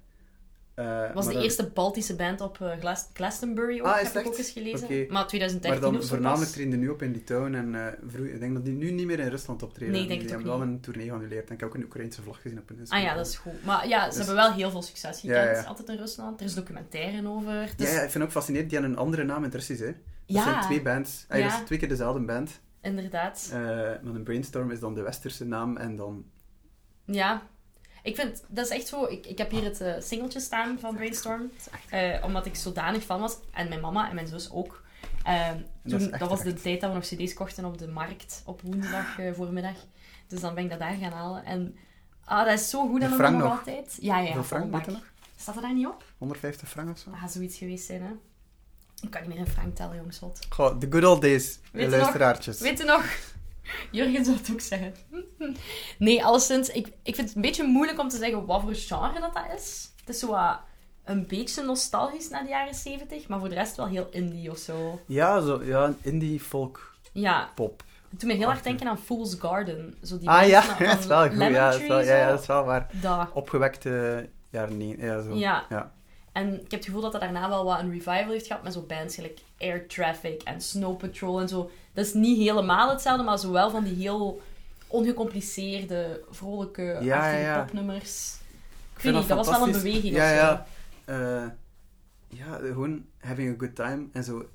Speaker 2: was
Speaker 4: maar
Speaker 2: de
Speaker 4: dan-
Speaker 2: eerste Baltische band op eh, Glas- Glastonbury ook,
Speaker 4: Ah, is
Speaker 2: heb
Speaker 4: het
Speaker 2: ik ook
Speaker 4: echt?
Speaker 2: eens gelezen.
Speaker 4: Oké.
Speaker 2: Maar 2013
Speaker 4: Maar
Speaker 2: of
Speaker 4: dan
Speaker 2: zo
Speaker 4: voornamelijk
Speaker 2: pas.
Speaker 4: treden nu op in Litauen en eh, vroeg- ik denk dat die nu niet meer in Rusland optreden.
Speaker 2: Nee, ik denk
Speaker 4: die
Speaker 2: het ook
Speaker 4: hebben wel een tournee geannuleerd. En ik heb ook een Oekraïnse vlag gezien op hun
Speaker 2: Ah ja, dat is goed. Maar ja, ze
Speaker 4: Dus-
Speaker 2: hebben wel heel veel succes gekend.
Speaker 4: Ja, ja.
Speaker 2: Het is altijd in Rusland. Er is documentaire over. Dus,
Speaker 4: Ja, ja, ik vind ook fascinerend, die hebben een andere naam in het Russisch, hè. Dat
Speaker 2: Ja.
Speaker 4: zijn twee bands. Ah, ja,
Speaker 2: Ja.
Speaker 4: Dat is twee keer dezelfde band.
Speaker 2: inderdaad.
Speaker 4: Eh, maar een brainstorm is dan de westerse naam en dan...
Speaker 2: Ja. Ik vind, dat is echt zo... Ik, ik heb hier het eh, singeltje staan van Brainstorm. Eh, omdat ik zodanig fan was. En mijn mama en mijn zus ook. Eh,
Speaker 4: is
Speaker 2: toen, dat,
Speaker 4: echt
Speaker 2: was de
Speaker 4: terecht.
Speaker 2: tijd dat we nog cd's kochten op de markt. Op woensdag eh, voormiddag. Dus dan ben ik dat daar gaan halen. En ah, dat is zo goed aan
Speaker 4: De
Speaker 2: mijn
Speaker 4: frank
Speaker 2: mama
Speaker 4: nog.
Speaker 2: altijd. Ja, ja.
Speaker 4: Hoeveel frank
Speaker 2: volbak.
Speaker 4: moet er nog?
Speaker 2: Staat er daar niet op?
Speaker 4: 150 frank of zo?
Speaker 2: Ah, zoiets geweest zijn, hè. Ik kan niet meer in frank tellen, jongens. Wat.
Speaker 4: Goh, the good old days,
Speaker 2: Weet je
Speaker 4: de luisteraartjes.
Speaker 2: Weet je nog? [LAUGHS] Jurgen zou het ook zeggen. [LAUGHS] Nee, alleszins, ik, ik vind het een beetje moeilijk om te zeggen wat voor genre dat dat is. Het is zo wat een beetje nostalgisch naar de jaren 70, maar voor de rest wel heel indie of zo.
Speaker 4: Ja, zo, ja, een indie folk
Speaker 2: Ja,
Speaker 4: pop.
Speaker 2: het doet me heel erg denken aan Fool's Garden. Zo die
Speaker 4: ah
Speaker 2: mensen
Speaker 4: ja,
Speaker 2: van
Speaker 4: [LAUGHS] dat is wel goed.
Speaker 2: Lemon
Speaker 4: Ja, dat is
Speaker 2: Tree,
Speaker 4: wel, ja, ja,
Speaker 2: zo.
Speaker 4: dat is wel waar.
Speaker 2: Dat.
Speaker 4: Opgewekte jaren nee, ja, zo.
Speaker 2: Ja.
Speaker 4: ja.
Speaker 2: En ik heb het gevoel dat dat daarna wel wat een revival heeft gehad met zo'n bands gelijk Air Traffic en Snow Patrol en zo. Dat is niet helemaal hetzelfde, maar zo wel van die heel ongecompliceerde, vrolijke,
Speaker 4: ja,
Speaker 2: achtige
Speaker 4: ja.
Speaker 2: popnummers. Ik weet
Speaker 4: vind
Speaker 2: niet, dat was wel een
Speaker 4: fantastisch.
Speaker 2: beweging
Speaker 4: ja,
Speaker 2: of zo.
Speaker 4: ja. Eh, ja, gewoon having a good time en zo.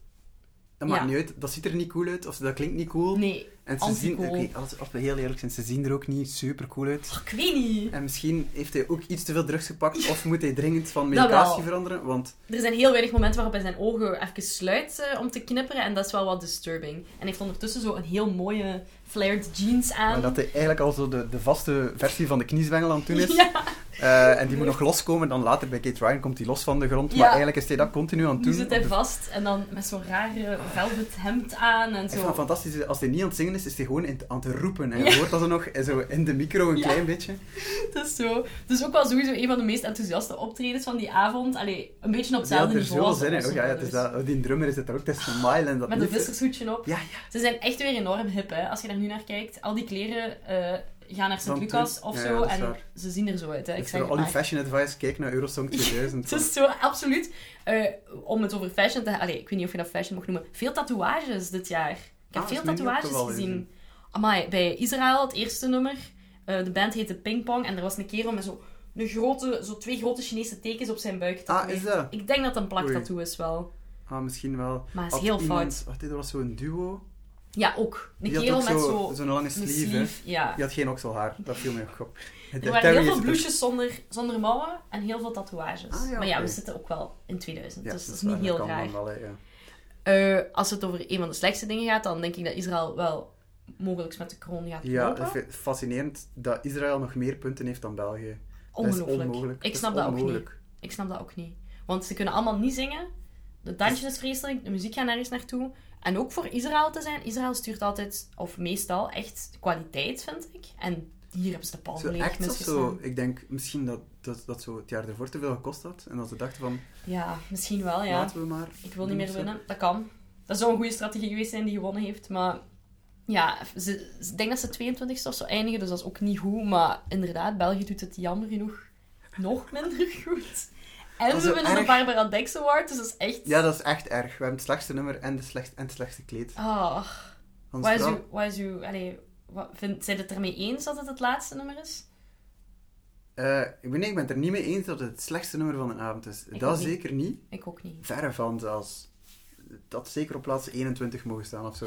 Speaker 4: Dat maakt
Speaker 2: Ja.
Speaker 4: niet uit, dat ziet er niet cool uit of dat klinkt niet cool.
Speaker 2: Nee,
Speaker 4: en ze zien,
Speaker 2: anti-cool.
Speaker 4: oké, als, als we heel eerlijk zijn, ze zien er ook niet super cool uit.
Speaker 2: ik weet niet.
Speaker 4: En misschien heeft hij ook iets te veel drugs gepakt of moet hij dringend van
Speaker 2: Dat wel.
Speaker 4: medicatie veranderen. Want
Speaker 2: Er zijn heel weinig momenten waarop hij zijn ogen even sluit eh, om te knipperen en dat is wel wat disturbing. En hij heeft ondertussen zo een heel mooie flared jeans aan.
Speaker 4: maar dat hij eigenlijk al zo de, de vaste versie van de kniezwengel aan het doen is.
Speaker 2: Ja,
Speaker 4: Eh, en die moet nog loskomen, dan later bij Kate Ryan komt hij los van de grond.
Speaker 2: Ja.
Speaker 4: Maar eigenlijk is hij dat continu aan het
Speaker 2: nu
Speaker 4: doen.
Speaker 2: zit
Speaker 4: op
Speaker 2: hij
Speaker 4: de-
Speaker 2: vast en dan met zo'n rare velvet hemd aan en
Speaker 4: Ik vind het
Speaker 2: zo.
Speaker 4: fantastisch, Dus als hij niet aan het zingen is, is hij gewoon in- aan het roepen. En je hoort dat ze nog zo in de micro een
Speaker 2: Ja.
Speaker 4: klein beetje.
Speaker 2: [LAUGHS] Het is zo. Het is ook wel sowieso een van de meest enthousiaste optredens van die avond. Allee, een beetje op
Speaker 4: Die had
Speaker 2: hetzelfde
Speaker 4: er
Speaker 2: niveau
Speaker 4: zo
Speaker 2: als de
Speaker 4: zin in. Oh,
Speaker 2: Olsen
Speaker 4: ja, ja, het is
Speaker 2: Brothers.
Speaker 4: dat, oh, die drummer is het er ook, het is een mile en dat
Speaker 2: Met een
Speaker 4: liedje.
Speaker 2: vissershoedje op.
Speaker 4: Ja, ja.
Speaker 2: Ze zijn echt weer enorm hip, hè. Als je daar nu naar kijkt. Al die kleren eh, gaan naar
Speaker 4: Van
Speaker 2: Sint-Lucas
Speaker 4: toen.
Speaker 2: of
Speaker 4: Ja, ja,
Speaker 2: zo.
Speaker 4: dat is
Speaker 2: en
Speaker 4: waar.
Speaker 2: ze zien er zo uit, hè. Ik
Speaker 4: Dus
Speaker 2: zeg
Speaker 4: voor
Speaker 2: het
Speaker 4: al die
Speaker 2: maar.
Speaker 4: fashion advice, kijk naar
Speaker 2: [LAUGHS]
Speaker 4: Eurosong 2000.
Speaker 2: Het is zo, absoluut. Eh, om het over fashion te hebben. Allee, ik weet niet of je dat fashion mag noemen. Veel tatoeages dit jaar. Ik heb
Speaker 4: Ah, dat
Speaker 2: veel
Speaker 4: is mij niet
Speaker 2: tatoeages
Speaker 4: opgevallen,
Speaker 2: gezien.
Speaker 4: gezien.
Speaker 2: Amai, bij Israël, het eerste nummer. eh, de band heette Ping Pong. En er was een kerel met zo, een grote, zo twee grote Chinese tekens op zijn buik.
Speaker 4: Ah, is dat?
Speaker 2: Ik denk dat dat een
Speaker 4: Oei.
Speaker 2: plaktattoo is wel.
Speaker 4: Ah, misschien wel.
Speaker 2: Maar het is
Speaker 4: Had
Speaker 2: heel
Speaker 4: iemand-
Speaker 2: fout.
Speaker 4: Wacht, dit was zo'n duo.
Speaker 2: Ja, ook. Een
Speaker 4: Die had
Speaker 2: kerel
Speaker 4: ook
Speaker 2: met
Speaker 4: zo-
Speaker 2: zo'n
Speaker 4: zo'n lange sleeve, hè.
Speaker 2: ja.
Speaker 4: Die had geen okselhaar, dat viel mij ook
Speaker 2: [LAUGHS]
Speaker 4: op.
Speaker 2: Er waren heel veel blouses zonder, zonder mouwen en heel veel tatoeages.
Speaker 4: Ah, ja,
Speaker 2: maar ja, we
Speaker 4: oké.
Speaker 2: zitten ook wel in 2000,
Speaker 4: Ja,
Speaker 2: dus dat is
Speaker 4: waar,
Speaker 2: niet heel
Speaker 4: kan
Speaker 2: raar.
Speaker 4: dan wel, hè, ja.
Speaker 2: Eh, als het over een van de slechtste dingen gaat, dan denk ik dat Israël wel mogelijk met de kroon gaat
Speaker 4: Ja,
Speaker 2: lopen.
Speaker 4: ik vind het fascinerend dat Israël nog meer punten heeft dan België. Dat is
Speaker 2: Ongelooflijk.
Speaker 4: onmogelijk.
Speaker 2: Ik
Speaker 4: is
Speaker 2: snap dat ook
Speaker 4: onmogelijk.
Speaker 2: niet. Ik snap dat ook niet. Want ze kunnen allemaal niet zingen. De dansjes is vreselijk, de muziek gaat nergens naartoe. En ook voor Israël te zijn, Israël stuurt altijd, of meestal, echt kwaliteit, vind ik. En hier hebben ze de palm
Speaker 4: Zo
Speaker 2: volledig
Speaker 4: echt of
Speaker 2: misgestaan.
Speaker 4: zo? Ik denk misschien dat dat, dat zo het jaar ervoor te veel gekost had. En dat ze dachten van,
Speaker 2: Ja, misschien wel, ja.
Speaker 4: laten we maar...
Speaker 2: Ik wil niet
Speaker 4: doen
Speaker 2: meer
Speaker 4: of zo.
Speaker 2: winnen. Dat kan. Dat zou een goede strategie geweest zijn die gewonnen heeft, maar Ja, ze, ze- ik denk dat ze 22 of zo eindigen, dus dat is ook niet goed. Maar inderdaad, België doet het jammer genoeg nog minder [LAUGHS] goed. En
Speaker 4: is
Speaker 2: we
Speaker 4: wel
Speaker 2: winnen de
Speaker 4: erg.
Speaker 2: Barbara Dex Award, dus dat is echt...
Speaker 4: Ja, dat is echt erg. We hebben het slechtste nummer en, de slecht, en het slechtste kleed.
Speaker 2: Ah,
Speaker 4: Hans
Speaker 2: wat is
Speaker 4: Brouw-
Speaker 2: uw... Wat is uw allee, wat, vind, zijn het ermee eens dat het het laatste nummer is?
Speaker 4: Eh, ik ben, nee, ik ben het er niet mee eens dat het het slechtste nummer van de avond is.
Speaker 2: Ik
Speaker 4: dat
Speaker 2: ook niet.
Speaker 4: zeker niet.
Speaker 2: Ik ook niet.
Speaker 4: Verre van zelfs. Dat zeker op plaats 21 mogen staan
Speaker 2: [LAUGHS]
Speaker 4: of zo.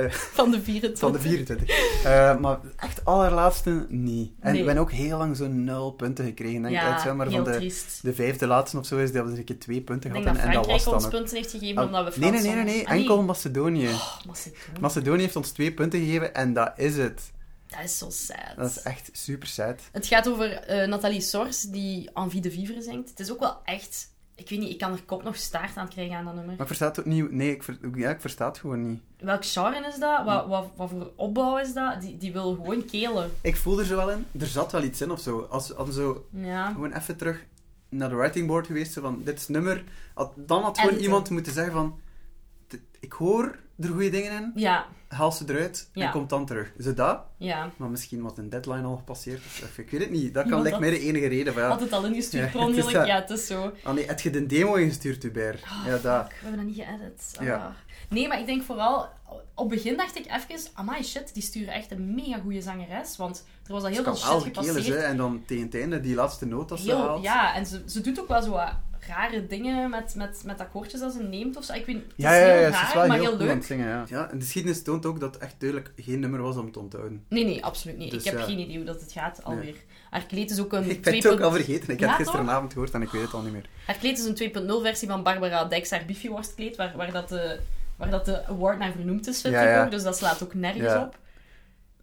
Speaker 4: Eh,
Speaker 2: [LAUGHS] Van de 24.
Speaker 4: van de 24. Eh, maar echt allerlaatste, nee. En
Speaker 2: Nee.
Speaker 4: we hebben ook heel lang zo'n nul punten gekregen. Denk ik.
Speaker 2: Ja,
Speaker 4: Dat het maar
Speaker 2: heel
Speaker 4: van de,
Speaker 2: triest.
Speaker 4: de vijfde laatste of zo is, dat we eens een keer twee punten
Speaker 2: Ik denk dat
Speaker 4: hadden. en dat was
Speaker 2: Frankrijk
Speaker 4: dan
Speaker 2: ons
Speaker 4: ook. Oh.
Speaker 2: punten heeft gegeven omdat we
Speaker 4: nee,
Speaker 2: Frans
Speaker 4: nee, nee, nee, nee.
Speaker 2: zongen. Ah,
Speaker 4: enkel Macedonië.
Speaker 2: Oh, Macedonië.
Speaker 4: Macedonië heeft ons twee punten gegeven en dat is het.
Speaker 2: Dat is zo sad.
Speaker 4: Dat is echt super sad.
Speaker 2: Het gaat over eh Nathalie Sors, die Envie de Vivre zingt. Het is ook wel echt... Ik weet niet, ik kan er kop nog staart aan krijgen aan dat nummer.
Speaker 4: Maar ik versta het ook niet. Nee, ik, ver- ja, ik versta het gewoon niet.
Speaker 2: Welk genre is dat? Wat, wat, wat voor opbouw is dat? Die, die wil gewoon kelen.
Speaker 4: Ik voel er zo wel in. Er zat wel iets in of zo. Als, als zo
Speaker 2: Ja.
Speaker 4: gewoon even terug naar de writing board geweest. zo van, dit is nummer. Had- dan had gewoon
Speaker 2: Editen.
Speaker 4: iemand moeten zeggen van... "Dit- Ik hoor er goede dingen in.
Speaker 2: Ja,
Speaker 4: Haal ze eruit
Speaker 2: Ja.
Speaker 4: en komt dan terug. Zo dat.
Speaker 2: ja.
Speaker 4: Maar misschien was een deadline al gepasseerd. of- of ik weet het niet. Dat kan
Speaker 2: Iemand
Speaker 4: lijkt mij
Speaker 2: had-
Speaker 4: de enige reden. Van, ja.
Speaker 2: Had het al ingestuurd,
Speaker 4: Ja,
Speaker 2: per
Speaker 4: het is
Speaker 2: ongeluk?
Speaker 4: dat.
Speaker 2: Ja, het is zo.
Speaker 4: Ah nee, heb je de demo ingestuurd, Hubert?
Speaker 2: Ah.
Speaker 4: ja, dat.
Speaker 2: Fuck, we hebben dat niet geëdit. Ah.
Speaker 4: Ja.
Speaker 2: Nee, maar ik denk vooral... Op het begin dacht ik even... Amai, shit, die sturen echt een mega goede zangeres. Want er was al heel
Speaker 4: Ze
Speaker 2: veel
Speaker 4: kan
Speaker 2: shit
Speaker 4: wel kelen,
Speaker 2: gepasseerd.
Speaker 4: hè. En dan tegen het einde die laatste noot als ze
Speaker 2: Heel-
Speaker 4: haalt.
Speaker 2: ja, en ze, ze doet ook wel zo wat rare dingen met, met, met akkoordjes dat ze neemt of zo. Ik weet, het
Speaker 4: Ja,
Speaker 2: is
Speaker 4: ja,
Speaker 2: heel
Speaker 4: ja,
Speaker 2: raar,
Speaker 4: ze is wel
Speaker 2: maar
Speaker 4: heel,
Speaker 2: heel,
Speaker 4: cool aan
Speaker 2: leuk.
Speaker 4: het zingen, ja. Ja, en de geschiedenis toont ook dat het echt duidelijk geen nummer was om te onthouden.
Speaker 2: Nee, nee, absoluut niet.
Speaker 4: Dus
Speaker 2: ik heb
Speaker 4: ja.
Speaker 2: geen idee hoe dat het gaat alweer. Haar kleed is ook een
Speaker 4: [LAUGHS] Ik ben
Speaker 2: 2
Speaker 4: het ook al vergeten. Ik heb
Speaker 2: Ja,
Speaker 4: het gisteravond gehoord en ik weet het al niet meer.
Speaker 2: Haar kleed is een 2.0 versie van Barbara Dijks haar biffieworstkleed, waar, waar, dat de, waar dat de award naar vernoemd is, vind
Speaker 4: Ja,
Speaker 2: ik
Speaker 4: ja.
Speaker 2: ook. Dus dat slaat ook nergens
Speaker 4: Ja.
Speaker 2: op.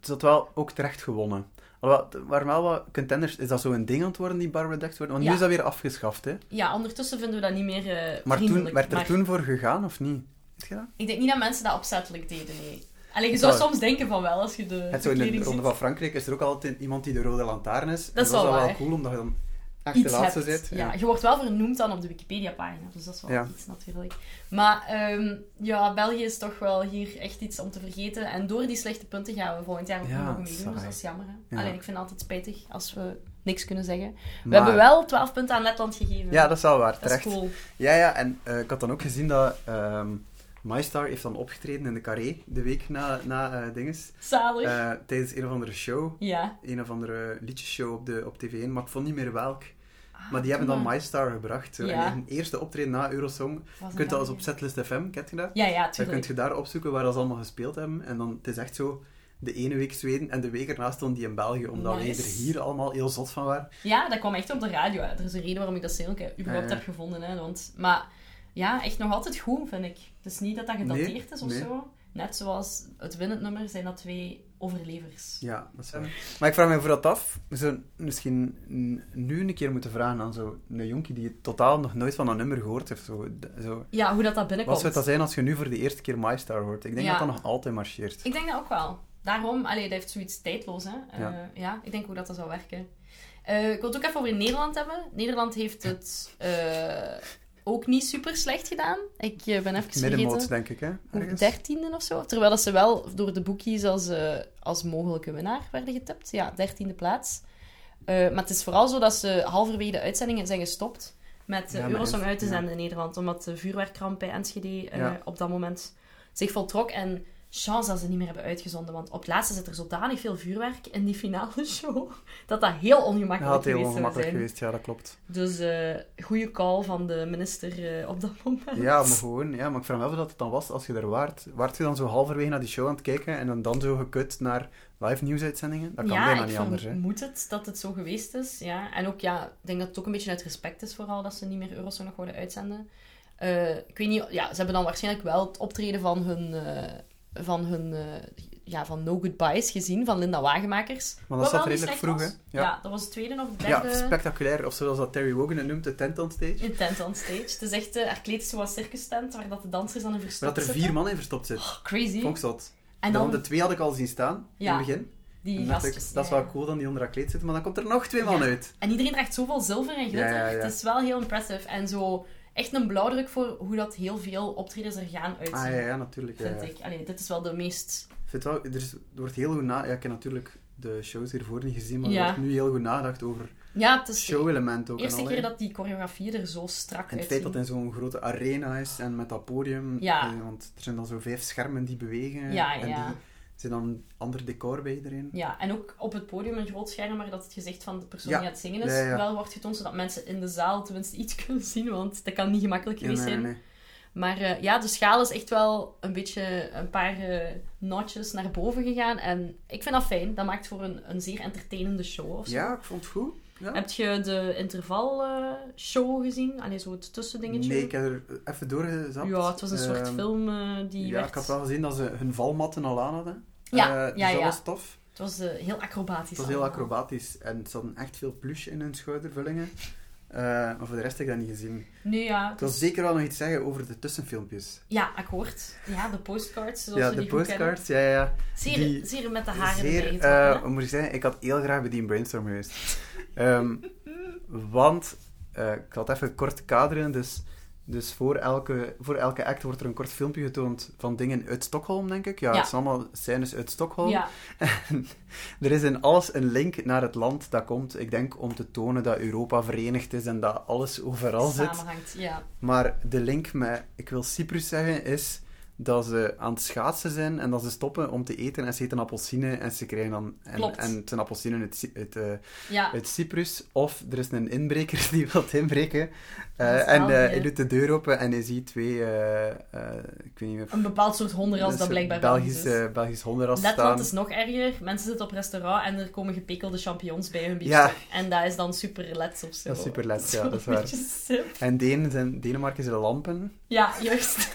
Speaker 4: Ze had wel ook terecht gewonnen. Alhoewel, t- waren wel wat contenders... Is dat zo een ding aan het worden, die Barbara Dex worden? Want
Speaker 2: Ja.
Speaker 4: nu is dat weer afgeschaft, hè.
Speaker 2: Ja, ondertussen vinden we dat niet meer eh
Speaker 4: Maar toen,
Speaker 2: vriendelijk,
Speaker 4: werd er
Speaker 2: maar
Speaker 4: toen voor gegaan, of niet? Weet je dat?
Speaker 2: Ik denk niet dat mensen dat opzettelijk deden, nee. Alleen je zou
Speaker 4: Zou-
Speaker 2: soms denken van wel, als je de,
Speaker 4: Het
Speaker 2: de
Speaker 4: zo in de
Speaker 2: kleding
Speaker 4: Ronde
Speaker 2: ziet.
Speaker 4: van Frankrijk is er ook altijd iemand die de rode lantaarn is. En
Speaker 2: Dat is
Speaker 4: dat
Speaker 2: wel
Speaker 4: is
Speaker 2: waar.
Speaker 4: dan wel cool, omdat je dan echt
Speaker 2: iets
Speaker 4: de laatste
Speaker 2: hebt.
Speaker 4: zit.
Speaker 2: Ja. je wordt wel vernoemd dan op de Wikipedia-pagina, dus dat is wel
Speaker 4: Ja.
Speaker 2: iets natuurlijk. Maar ehm, ja, België is toch wel hier echt iets om te vergeten. En door die slechte punten gaan we volgend jaar ook
Speaker 4: Ja,
Speaker 2: nog meedoen, dus
Speaker 4: saai.
Speaker 2: dat is jammer. hè.
Speaker 4: Ja.
Speaker 2: Alleen, ik vind het altijd spijtig als we niks kunnen zeggen. We
Speaker 4: Maar-
Speaker 2: hebben wel 12 punten aan Letland gegeven.
Speaker 4: Ja, dat is wel waar,
Speaker 2: Dat is
Speaker 4: terecht.
Speaker 2: cool.
Speaker 4: Ja, ja, en eh, ik had dan ook gezien dat ehm MyStar heeft dan opgetreden in de Carré de week na, na eh, dinges.
Speaker 2: Zalig.
Speaker 4: Eh, tijdens een of andere show,
Speaker 2: ja.
Speaker 4: een of andere liedjeshow op, de, op tv1, maar ik vond niet meer welk. maar die hebben dan
Speaker 2: Ah, maar.
Speaker 4: MyStar gebracht. Zo.
Speaker 2: Ja.
Speaker 4: En hun eerste optreden na Eurosong. Je kunt
Speaker 2: dat
Speaker 4: dat eens op
Speaker 2: weer?
Speaker 4: Setlist FM, kent je dat?
Speaker 2: Ja, ja,
Speaker 4: Dan kun
Speaker 2: tuurlijk.
Speaker 4: je daar opzoeken waar dat ze allemaal gespeeld hebben. En dan, het is echt zo, de ene week Zweden en de week erna stond die in België. Omdat wij
Speaker 2: Nice.
Speaker 4: er hier allemaal heel zot van waren.
Speaker 2: Ja, dat kwam echt op de radio. hè. Er is een reden waarom ik dat zeer ook eh, überhaupt
Speaker 4: Ja.
Speaker 2: heb gevonden. Hè, want, maar ja, echt nog altijd goed, vind ik. Het is niet dat dat gedateerd
Speaker 4: Nee,
Speaker 2: is of
Speaker 4: nee.
Speaker 2: zo. Net zoals het winnend nummer zijn dat twee overlevers.
Speaker 4: Ja, dat is waar. Maar ik vraag me voor dat af. We zouden misschien n- nu een keer moeten vragen aan zo'n jonkie die totaal nog nooit van dat nummer gehoord heeft. Zo, d- zo.
Speaker 2: Ja, hoe dat dat
Speaker 4: Wat
Speaker 2: binnenkomt.
Speaker 4: zou het dan zijn als je nu voor de eerste keer MyStar hoort? Ik denk
Speaker 2: Ja.
Speaker 4: dat dat nog altijd marcheert.
Speaker 2: Ik denk dat ook wel. Daarom, allee, dat heeft zoiets tijdloos. Hè? Eh, ja.
Speaker 4: Ja.
Speaker 2: ik denk ook dat dat zou werken. Eh, ik wil het ook even over Nederland hebben. Nederland heeft het eh, ook niet super slecht gedaan. Ik eh, ben even
Speaker 4: Middenmoot,
Speaker 2: vergeten.
Speaker 4: denk ik, hè?
Speaker 2: hoe-
Speaker 4: Ergens.
Speaker 2: dertiende of zo. Terwijl dat ze wel door de boekies als, eh, als mogelijke winnaar werden getipt. Ja, dertiende plaats. Eh, maar het is vooral zo dat ze halverwege de uitzendingen zijn gestopt met eh,
Speaker 4: Ja, maar
Speaker 2: Eurosong
Speaker 4: is-
Speaker 2: uit te
Speaker 4: ja.
Speaker 2: zenden in Nederland. Omdat de vuurwerkramp bij Enschede eh,
Speaker 4: Ja.
Speaker 2: op dat moment zich voltrok. En chance dat ze niet meer hebben uitgezonden. Want op het laatste zit er zodanig veel vuurwerk in die finale show. [LAUGHS] Dat dat heel
Speaker 4: Dat
Speaker 2: ongemakkelijk
Speaker 4: had heel
Speaker 2: geweest
Speaker 4: ongemakkelijk
Speaker 2: zou zijn.
Speaker 4: geweest, ja, dat klopt.
Speaker 2: Dus eh goede call van de minister eh, op dat [LAUGHS] moment.
Speaker 4: Ja, maar gewoon, ja, maar ik vraag me af dat het dan was als je er waart. Waart je dan zo halverwege naar die show aan het kijken en dan, dan zo gekut naar live nieuwsuitzendingen? Dat kan
Speaker 2: ja,
Speaker 4: bijna
Speaker 2: ik
Speaker 4: niet anders, hè?
Speaker 2: vermoed het dat het zo geweest is. Ja. En ook, ja, ik denk dat het ook een beetje uit respect is vooral dat ze niet meer Eurosong nog worden uitzenden. Eh, ik weet niet, ja, ze hebben dan waarschijnlijk wel het optreden van hun, eh, van hun eh, ja, van No Goodbyes gezien, van Linda Wagenmakers.
Speaker 4: dat
Speaker 2: Wat
Speaker 4: zat
Speaker 2: wel niet
Speaker 4: redelijk
Speaker 2: slecht
Speaker 4: vroeg,
Speaker 2: was.
Speaker 4: hè?
Speaker 2: Ja.
Speaker 4: Ja.
Speaker 2: dat was het tweede of het
Speaker 4: Ja,
Speaker 2: derde
Speaker 4: spectaculair. Of zoals dat Terry Wogan het noemt, de tent on stage.
Speaker 2: eh, in tent on stage. Het is echt, eh haar kleed is zoals circus tent, waar dat de dansers aan een
Speaker 4: Maar
Speaker 2: verstopt
Speaker 4: dat er vier man in verstopt zit.
Speaker 2: zitten. Crazy.
Speaker 4: Vond ik zot.
Speaker 2: en
Speaker 4: De
Speaker 2: dan
Speaker 4: andere twee had ik al zien staan,
Speaker 2: Ja,
Speaker 4: in het begin.
Speaker 2: die
Speaker 4: En dacht ik,
Speaker 2: gastjes.
Speaker 4: dat is
Speaker 2: ja.
Speaker 4: wel cool dan die onder dat kleed zitten, maar dan komt er nog twee man
Speaker 2: Ja.
Speaker 4: uit.
Speaker 2: En iedereen draagt zoveel zilver en glitter.
Speaker 4: Ja, ja, ja.
Speaker 2: Het is wel heel impressive. En zo echt een blauwdruk voor hoe dat heel veel optredens er gaan uitzien.
Speaker 4: Ah ja, ja natuurlijk. Ja,
Speaker 2: Vind
Speaker 4: ja.
Speaker 2: ik. Allee, dit is wel de meest
Speaker 4: vind wel, er, is, er wordt heel goed na... Ja, ik heb natuurlijk de shows hiervoor niet gezien, maar
Speaker 2: Ja.
Speaker 4: er wordt nu heel goed nagedacht over
Speaker 2: Ja, het is de
Speaker 4: show-element ook. en
Speaker 2: eerste
Speaker 4: al,
Speaker 2: keer
Speaker 4: hè.
Speaker 2: dat die choreografieën er zo strak
Speaker 4: En het feit dat
Speaker 2: uitzien.
Speaker 4: het in zo'n grote arena is en met dat podium.
Speaker 2: Ja.
Speaker 4: eh, want er zijn dan zo vijf schermen die bewegen.
Speaker 2: Ja,
Speaker 4: en
Speaker 2: ja.
Speaker 4: die er zit dan een ander decor bij iedereen.
Speaker 2: Ja, en ook op het podium een groot scherm waar dat het gezicht van de persoon
Speaker 4: Ja.
Speaker 2: die aan het zingen is
Speaker 4: Ja, ja.
Speaker 2: wel wordt getoond, zodat mensen in de zaal tenminste iets [LAUGHS] kunnen zien, want dat kan niet gemakkelijk
Speaker 4: Nee,
Speaker 2: geweest
Speaker 4: nee,
Speaker 2: zijn.
Speaker 4: nee.
Speaker 2: Maar eh, ja, de schaal is echt wel een beetje een paar eh, notches naar boven gegaan. En ik vind dat fijn. Dat maakt voor een, een zeer entertainende show of zo.
Speaker 4: Ja, ik vond het goed. Ja.
Speaker 2: Heb je de intervalshow gezien? Allee, zo het tussendingetje?
Speaker 4: Nee, ik heb er even doorgezapt.
Speaker 2: Ja, het was een soort
Speaker 4: Ehm,
Speaker 2: film eh, die
Speaker 4: ja,
Speaker 2: werd...
Speaker 4: ik had wel gezien dat ze hun valmatten al aan hadden.
Speaker 2: Ja,
Speaker 4: Eh,
Speaker 2: ja,
Speaker 4: dus dat
Speaker 2: ja.
Speaker 4: was tof.
Speaker 2: Het was eh, heel acrobatisch.
Speaker 4: Het was heel
Speaker 2: allemaal.
Speaker 4: acrobatisch. En ze hadden echt veel plush in hun schoudervullingen. Eh, maar voor de rest heb ik dat niet gezien.
Speaker 2: Nee, ja. het
Speaker 4: Ik wil
Speaker 2: was-
Speaker 4: zeker wel nog iets zeggen over de tussenfilmpjes.
Speaker 2: Ja, akkoord. Ja, de postcards, zoals
Speaker 4: ja,
Speaker 2: we
Speaker 4: de
Speaker 2: die goed kennen.
Speaker 4: postcards. Ja, ja, ja.
Speaker 2: Zeer,
Speaker 4: die-
Speaker 2: zeer met de haren erbij
Speaker 4: zeer, eh,
Speaker 2: getrokken, hè?
Speaker 4: wat moet ik zeggen, ik had heel graag bij die een brainstorm geweest. Ehm, want, eh, ik zal het even kort kaderen, dus, dus voor, elke, voor elke act wordt er een kort filmpje getoond van dingen uit Stockholm, denk ik. Ja,
Speaker 2: Ja.
Speaker 4: het zijn allemaal scènes uit Stockholm.
Speaker 2: Ja,
Speaker 4: En [LAUGHS] er is in alles een link naar het land dat komt, ik denk om te tonen dat Europa verenigd is en dat alles overal zit.
Speaker 2: samenhangt. Ja.
Speaker 4: Maar de link met, ik wil Cyprus zeggen, is dat ze aan het schaatsen zijn en dat ze stoppen om te eten en ze eten appelsine en ze krijgen dan... En,
Speaker 2: Klopt.
Speaker 4: en het zijn appelsine uit, Cy- uit, eh,
Speaker 2: ja.
Speaker 4: uit Cyprus. Of er is een inbreker [LAUGHS] die wil inbreken. Eh,
Speaker 2: Dat is
Speaker 4: en eh,
Speaker 2: België.
Speaker 4: hij doet de deur open en hij ziet twee... eh, eh, ik weet niet meer...
Speaker 2: Een bepaald soort hondenras dat blijkbaar Belgisch is. dus.
Speaker 4: Belgisch, eh, Belgisch hondenras
Speaker 2: Letland
Speaker 4: staan.
Speaker 2: is nog erger. Mensen zitten op restaurant en er komen gepikkelde champignons bij hun biefstuk.
Speaker 4: Ja.
Speaker 2: En dat is dan super lets of zo.
Speaker 4: Dat is super lets, ja,
Speaker 2: Zo'n
Speaker 4: dat is waar.
Speaker 2: beetje sip.
Speaker 4: En Denen zijn, Denemarken zijn lampen.
Speaker 2: Ja, juist. [LAUGHS]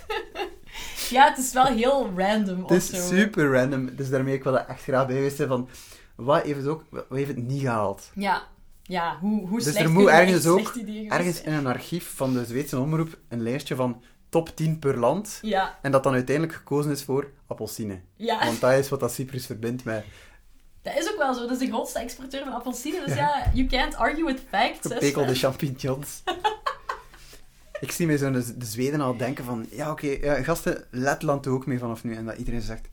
Speaker 2: ja, het is wel heel random
Speaker 4: Het is
Speaker 2: of zo.
Speaker 4: super random. Dus daarmee ik wil dat echt graag bij wisten van... Wat heeft het ook... Wat heeft het niet gehaald?
Speaker 2: Ja, ja hoe, hoe
Speaker 4: Dus
Speaker 2: slecht
Speaker 4: er moet
Speaker 2: kunnen echt
Speaker 4: ergens ook...
Speaker 2: slechte ideeën geweest
Speaker 4: Ergens
Speaker 2: zijn?
Speaker 4: in een archief van de Zweedse omroep een lijstje van top 10 per land.
Speaker 2: Ja,
Speaker 4: En dat dan uiteindelijk gekozen is voor appelsine.
Speaker 2: ja.
Speaker 4: Want dat is wat dat Cyprus verbindt
Speaker 2: [LAUGHS]
Speaker 4: met
Speaker 2: dat is ook wel zo. Dat is de grootste exporteur van appelsine. Dus ja, you can't argue with facts. hè.
Speaker 4: gepekelde
Speaker 2: [LAUGHS]
Speaker 4: champignons. Ik zie mij zo de, de Zweden al denken van... Ja, oké, ja, gasten, Letland doe ook mee vanaf nu. En dat iedereen zegt...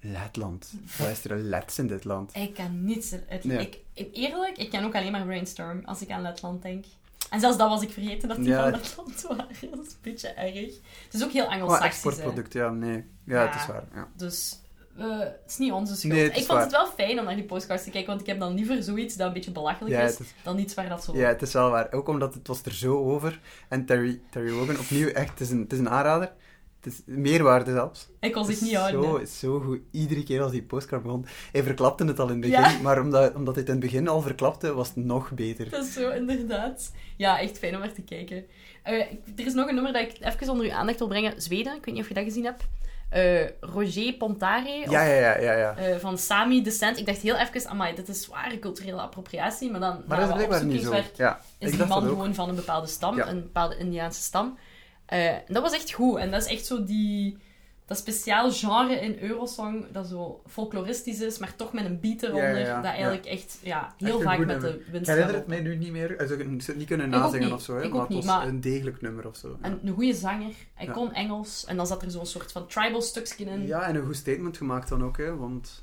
Speaker 4: Letland? Wat is er een Lets in dit land?
Speaker 2: Ik kan niets uit...
Speaker 4: Nee.
Speaker 2: Ik, ik- eerlijk, ik ken ook alleen maar Brainstorm als ik aan Letland denk. En zelfs dat was ik vergeten dat die
Speaker 4: Ja.
Speaker 2: van Letland [LAUGHS] waren. Dat is een beetje erg. Het is ook heel
Speaker 4: Oh,
Speaker 2: Anglo-Saxisch. hè.
Speaker 4: exportproduct, ja, nee. Ja, het is
Speaker 2: Ja.
Speaker 4: waar. Ja.
Speaker 2: dus eh, het is niet onze schuld.
Speaker 4: Nee, het
Speaker 2: ik
Speaker 4: is
Speaker 2: vond
Speaker 4: waar.
Speaker 2: het wel fijn om naar die postcards te kijken, want ik heb dan liever zoiets dat een beetje belachelijk
Speaker 4: Ja,
Speaker 2: is,
Speaker 4: het is-
Speaker 2: dan iets waar dat zo...
Speaker 4: ja, het is wel waar. Ook omdat het was er zo over. En Terry, Terry Wogan, opnieuw, echt, het is een, het is een aanrader. Het is meerwaarde zelfs.
Speaker 2: ik kon zich
Speaker 4: Het is
Speaker 2: niet houden.
Speaker 4: Zo,
Speaker 2: hè.
Speaker 4: zo goed. Iedere keer als die postcard begon, hij verklapte het al in het begin.
Speaker 2: Ja.
Speaker 4: Maar omdat, omdat hij het in het begin al verklapte, was het nog beter.
Speaker 2: Dat is zo, inderdaad. Ja, echt fijn om naar te kijken. Eh, ik- er is nog een nummer dat ik even onder uw aandacht wil brengen. Zweden, ik weet niet of je dat gezien hebt. Eh, Roger Pontare, of
Speaker 4: Ja, ja, ja, ja. ja.
Speaker 2: Eh, van Sami Descent. Ik dacht heel even, amai, dit is zware culturele appropriatie. Maar dan,
Speaker 4: Maar
Speaker 2: na
Speaker 4: dat is
Speaker 2: wat
Speaker 4: blijkbaar niet zo.
Speaker 2: opzoekingswerk
Speaker 4: Ja,
Speaker 2: Is
Speaker 4: ik
Speaker 2: die
Speaker 4: dacht
Speaker 2: man
Speaker 4: dat ook.
Speaker 2: gewoon van een bepaalde stam,
Speaker 4: Ja.
Speaker 2: een bepaalde Indiaanse stam. Eh, en dat was echt goed. En dat is echt zo die... Dat speciaal genre in Eurosong, dat zo folkloristisch is, maar toch met een beat eronder.
Speaker 4: Ja, ja, ja.
Speaker 2: Dat eigenlijk echt ja,
Speaker 4: Echt
Speaker 2: heel
Speaker 4: een
Speaker 2: vaak
Speaker 4: goed
Speaker 2: met
Speaker 4: nummer.
Speaker 2: de winst
Speaker 4: Ik herinner
Speaker 2: gaat
Speaker 4: het mij nu niet meer. Also, ik zou het niet kunnen
Speaker 2: Ik ook
Speaker 4: nazingen
Speaker 2: niet.
Speaker 4: of zo, hè,
Speaker 2: Ik ook
Speaker 4: maar het
Speaker 2: niet,
Speaker 4: was
Speaker 2: maar-
Speaker 4: een degelijk nummer of zo.
Speaker 2: En een goede zanger. Hij
Speaker 4: Ja.
Speaker 2: kon Engels. En dan zat er zo'n soort van tribal stukje in. Ja,
Speaker 4: Ja, en een goed statement gemaakt dan ook, hè, want